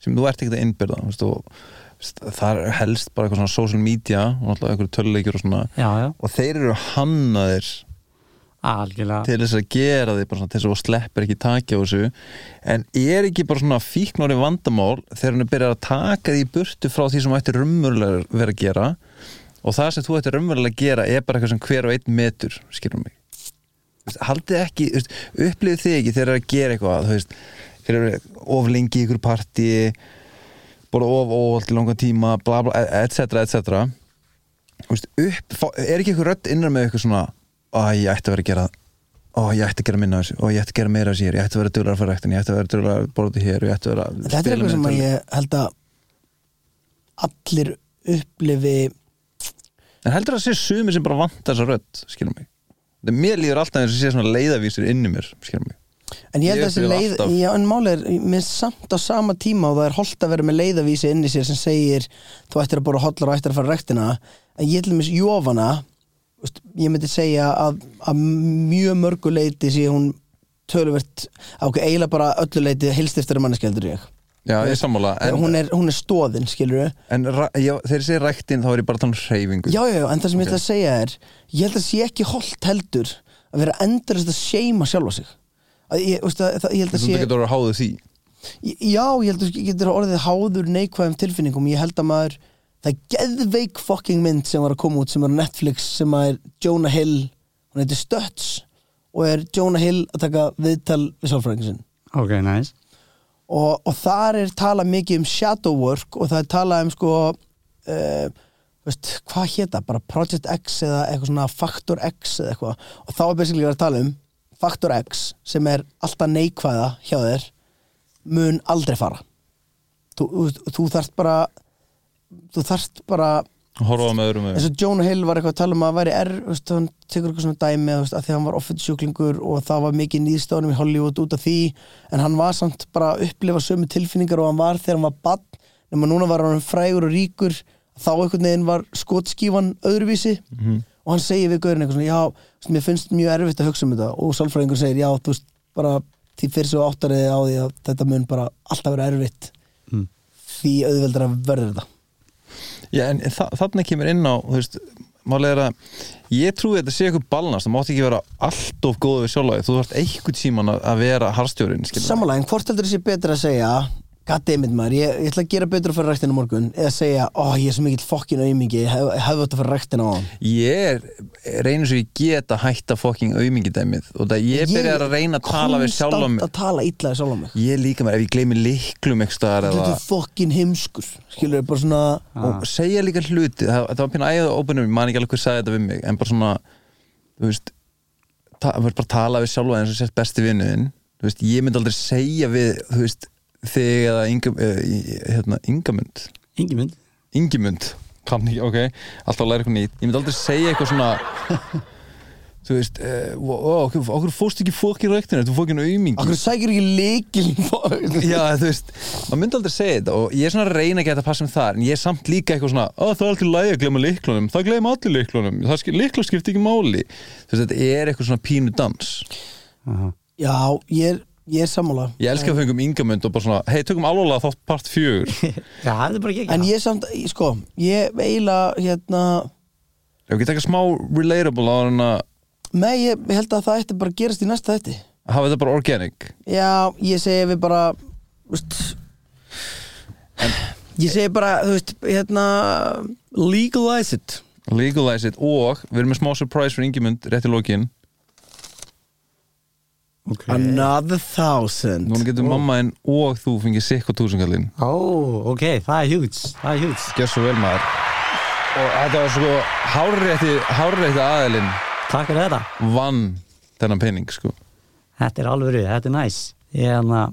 Speaker 2: sem þú ert ekkert að innbyrða þú veist, og það er helst bara eitthvað svona social media og alltaf einhverju töluleikjur og svona
Speaker 8: já, já,
Speaker 2: og þeir eru hannaðir
Speaker 8: algjörlega
Speaker 2: til þess að gera þig bara svona til þess að þú sleppir ekki taki á þessu en er ekki bara svona fíknóri vandamál þegar hann er byrjað að taka því í burtu frá því sem þú ætti raunverulega að vera að gera og það sem þú ætti raunverulega að gera er bara eitthvað sem hver og einn metur skilur mig Þú veist, haldið ekki, þú veist, upplifið þið ekki þegar það er að gera eitthvað þú veist, þegar það er of lengi í ykkur partí bara of óvalt í langan tíma bla e- bla, etc, etc Þú veist, upp, fá- er ekki eitthvað rödd innan með eitthvað svona að ég ætti að vera að gera og ég ætti að gera minna af þessu og ég ætti að gera meira af þessu hér, ég ætti að vera duglega að fara rektin ég ætti að vera duglega að borða út í hér og ég ætti að vera að
Speaker 1: Þetta er
Speaker 2: spila
Speaker 1: eitthvað sem
Speaker 2: meira
Speaker 1: að ég held að allir
Speaker 2: tölvu."
Speaker 1: upplifi
Speaker 2: en heldur það að sé sumi sem bara vantar þessa rödd skilum mig, Þetta- mér líður alltaf eins og sé svona leiðavísir inni í mér skilum mig
Speaker 1: En ég held
Speaker 2: Ég
Speaker 1: að þessi
Speaker 2: upplifi
Speaker 1: leið,
Speaker 2: alltaf.
Speaker 1: já en máli er mér samt á sama tíma og það er holdt að vera með leiðavísi inn í sér sem segir þú ættir að bora hollar og ættir að fara rektina en ég held að mér jófana veist, ég myndi segja að, að mjög mörgu leiti sé hún töluvert, ok, eiginlega bara öllu leiti hilst eftir að manneskjaldur ég
Speaker 2: já, ég er sammála, en,
Speaker 1: hún, er, hún er stóðin, skilur við
Speaker 2: en ra- já, þegar ég segi rektin þá er ég bara að tala um hreyfingu
Speaker 1: Já, já, já, en það sem ég
Speaker 2: Ok.
Speaker 1: ætla að segja er ég held að sé ekki holdt heldur að vera endurist að seima sjálfa sig að ég, veist, að, það, ég held að
Speaker 2: þú
Speaker 1: sé
Speaker 2: getur að vera háðu því
Speaker 1: Ég- Já, ég held að þú getur orðið háður neikvæðum tilfinningum Ég held að maður Það er geðveik fucking mynd sem var að koma út sem er á Netflix sem að er Jonah Hill Hún heitir Stötts og er Jonah Hill að taka viðtal við sálfræðingsinn
Speaker 8: ok, næs
Speaker 1: og, og þar er talað mikið um shadow work og það er talað um sko uh, veist, hvað héta bara Project X eða eitthvað svona Factor X eða eitthvað og þá er basically verið að tala um Factor X sem er alltaf neikvæða hjá þér mun aldrei fara þú, þú, veist, þú þarft bara þú þarft bara
Speaker 2: horfa með öðrum
Speaker 1: eins
Speaker 2: augum.
Speaker 1: og Jonah Hill var eitthvað að tala um að væri er, veist, hann tekur eitthvað svona dæmi veist, að því hann var offense sjúklingur og það var mikið nýðstónum í Hollywood út af því en hann var samt bara að upplifa sömu tilfinningar og hann var þegar hann var bann nema núna var hann frægur og ríkur þá einhvern veginn var skotskífan öðruvísi og hann segir við gaurin eitthvað svona já, veist, mér finnst mjög erfitt að hugsa um þetta og sálfræðingur segir já, þú veist bara því fyrir svo áttariði á því að þetta mun bara alltaf vera erfitt því auðveldar að verður þetta
Speaker 2: já, en þa þarna kemur inn á þú veist, málið er að ég trúi að þetta sé eitthvað balnast, það mátt ekki vera allt of góð við sjálfæði, þú þarft einhvern tíman að, að vera harstjórin, skilur
Speaker 1: Sammála, en hvort heldur þessi betra að segja Goddammit maður, ég, ég ætla að gera betra fyrir ræktinu morgun eða segja, ó ég er svo mikill fokkin aumingi, ég hef- hefði átt að fyrir ræktinu á hann
Speaker 2: ég er- reynir svo ég get að hætta fokking aumingidæmið og það ég byrjar að reyna að tala við sjálf
Speaker 1: Konstant
Speaker 2: mig
Speaker 1: að tala illa við sjálfum mig
Speaker 2: ég líka mér ef ég gleymi liklum ekki staðar
Speaker 1: Þetta
Speaker 2: eða
Speaker 1: er fokkin heimskur, skilur bara svona
Speaker 2: og segja líka hluti það, það var pínu æðið óbunum, ég man ekki alveg hver sagði þetta við mig en bara svona þú veist, ta, maður bara tala við sjálfa eins og sért besti vinnuðin þú veist, ég myndi aldrei segja við þú veist, þig eða Inga, eh, í- hérna, Ingamund
Speaker 8: Ingi mynd
Speaker 2: Ingimund kann ekki, ok, alltaf að læra eitthvað nýtt ég myndi aldrei segja eitthvað svona þú veist, eh, ó, ó, okkur, okkur fórst ekki fokkin ræktinu, þú fokkin aumingi
Speaker 1: Akkur sækir ekki leikil
Speaker 2: Já, þú veist, maður myndi aldrei segja þetta og ég er svona að reyna að geta að passa um það en ég er samt líka eitthvað svona, að það er alltaf lægi að glemma liklunum, það glemma allir liklunum það skil, likla skipti ekki máli þú veist, þetta er eitthvað svona pínu dans
Speaker 1: Já, ég er, ég er sammála
Speaker 2: ég elska að fengum yngamönd og bara svona hei, tökum alveg þátt part fjögur ef
Speaker 8: já, það er bara ekki
Speaker 1: En
Speaker 8: ekki
Speaker 1: ég samt, sko, ég eiginlega hérna,
Speaker 2: við getum eitthvað smá relatable á hann að
Speaker 1: með ég held að það ætti bara að gerast í næsta þetta
Speaker 2: hafa þetta bara organic
Speaker 1: Já, ég segi við bara veist, Ég segi bara, þú veist, hérna Legalize it
Speaker 2: legalize it og við erum með smá surprise fyrir Ingimund rétt í lokin
Speaker 8: okay.
Speaker 1: Another thousand
Speaker 2: núna getur mamma en og þú fengið sikk og túsungallinn
Speaker 8: ó, ok, það er huge það er huge
Speaker 2: gjör svo vel maður og þetta var sko hárrétti, hárrétti aðilinn
Speaker 8: takk fyrir þetta
Speaker 2: vann þennan penning sko
Speaker 8: Þetta er alveg rauð, þetta er næs Ég hérna,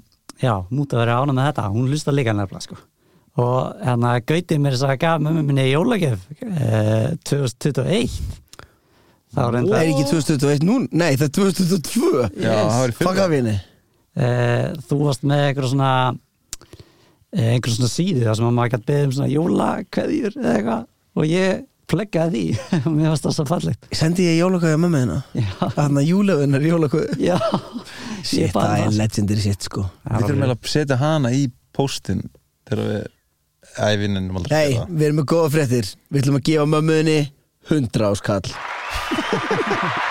Speaker 8: já, múti að vera ánum með þetta Hún hlustar líka nefnilega sko Og hérna, gautið mér þess að gaf mömmu minni í jólagjöf eh, 2021 Þá reynda
Speaker 1: Er ekki 2021 nú? Nei, það er 2022
Speaker 2: Já, það var í fyrra.
Speaker 1: Fuck af henni
Speaker 8: eh, Þú varst með einhver svona eh, einhver svona síðu þar sem að maður gætt beðið um svona jólakveðjur eða eitthvað og ég pleggaði því og mér varst það svo fallegt
Speaker 1: Sendi ég jólakvæði að mömmu hérna?
Speaker 8: Já.
Speaker 1: Þannig að jólaugunar jólakvæði
Speaker 8: Já,
Speaker 1: Shit,
Speaker 8: bara-
Speaker 1: það er legendary shit sko
Speaker 2: við
Speaker 8: Það var
Speaker 2: þurfum
Speaker 8: alveg-
Speaker 2: eiginlega að setja hana í póstinn þegar við ævinnin um aldrei að
Speaker 1: Nei,
Speaker 2: gera það.
Speaker 1: við erum með góða fréttir Við ætlum að gefa mömmunni 100 áskall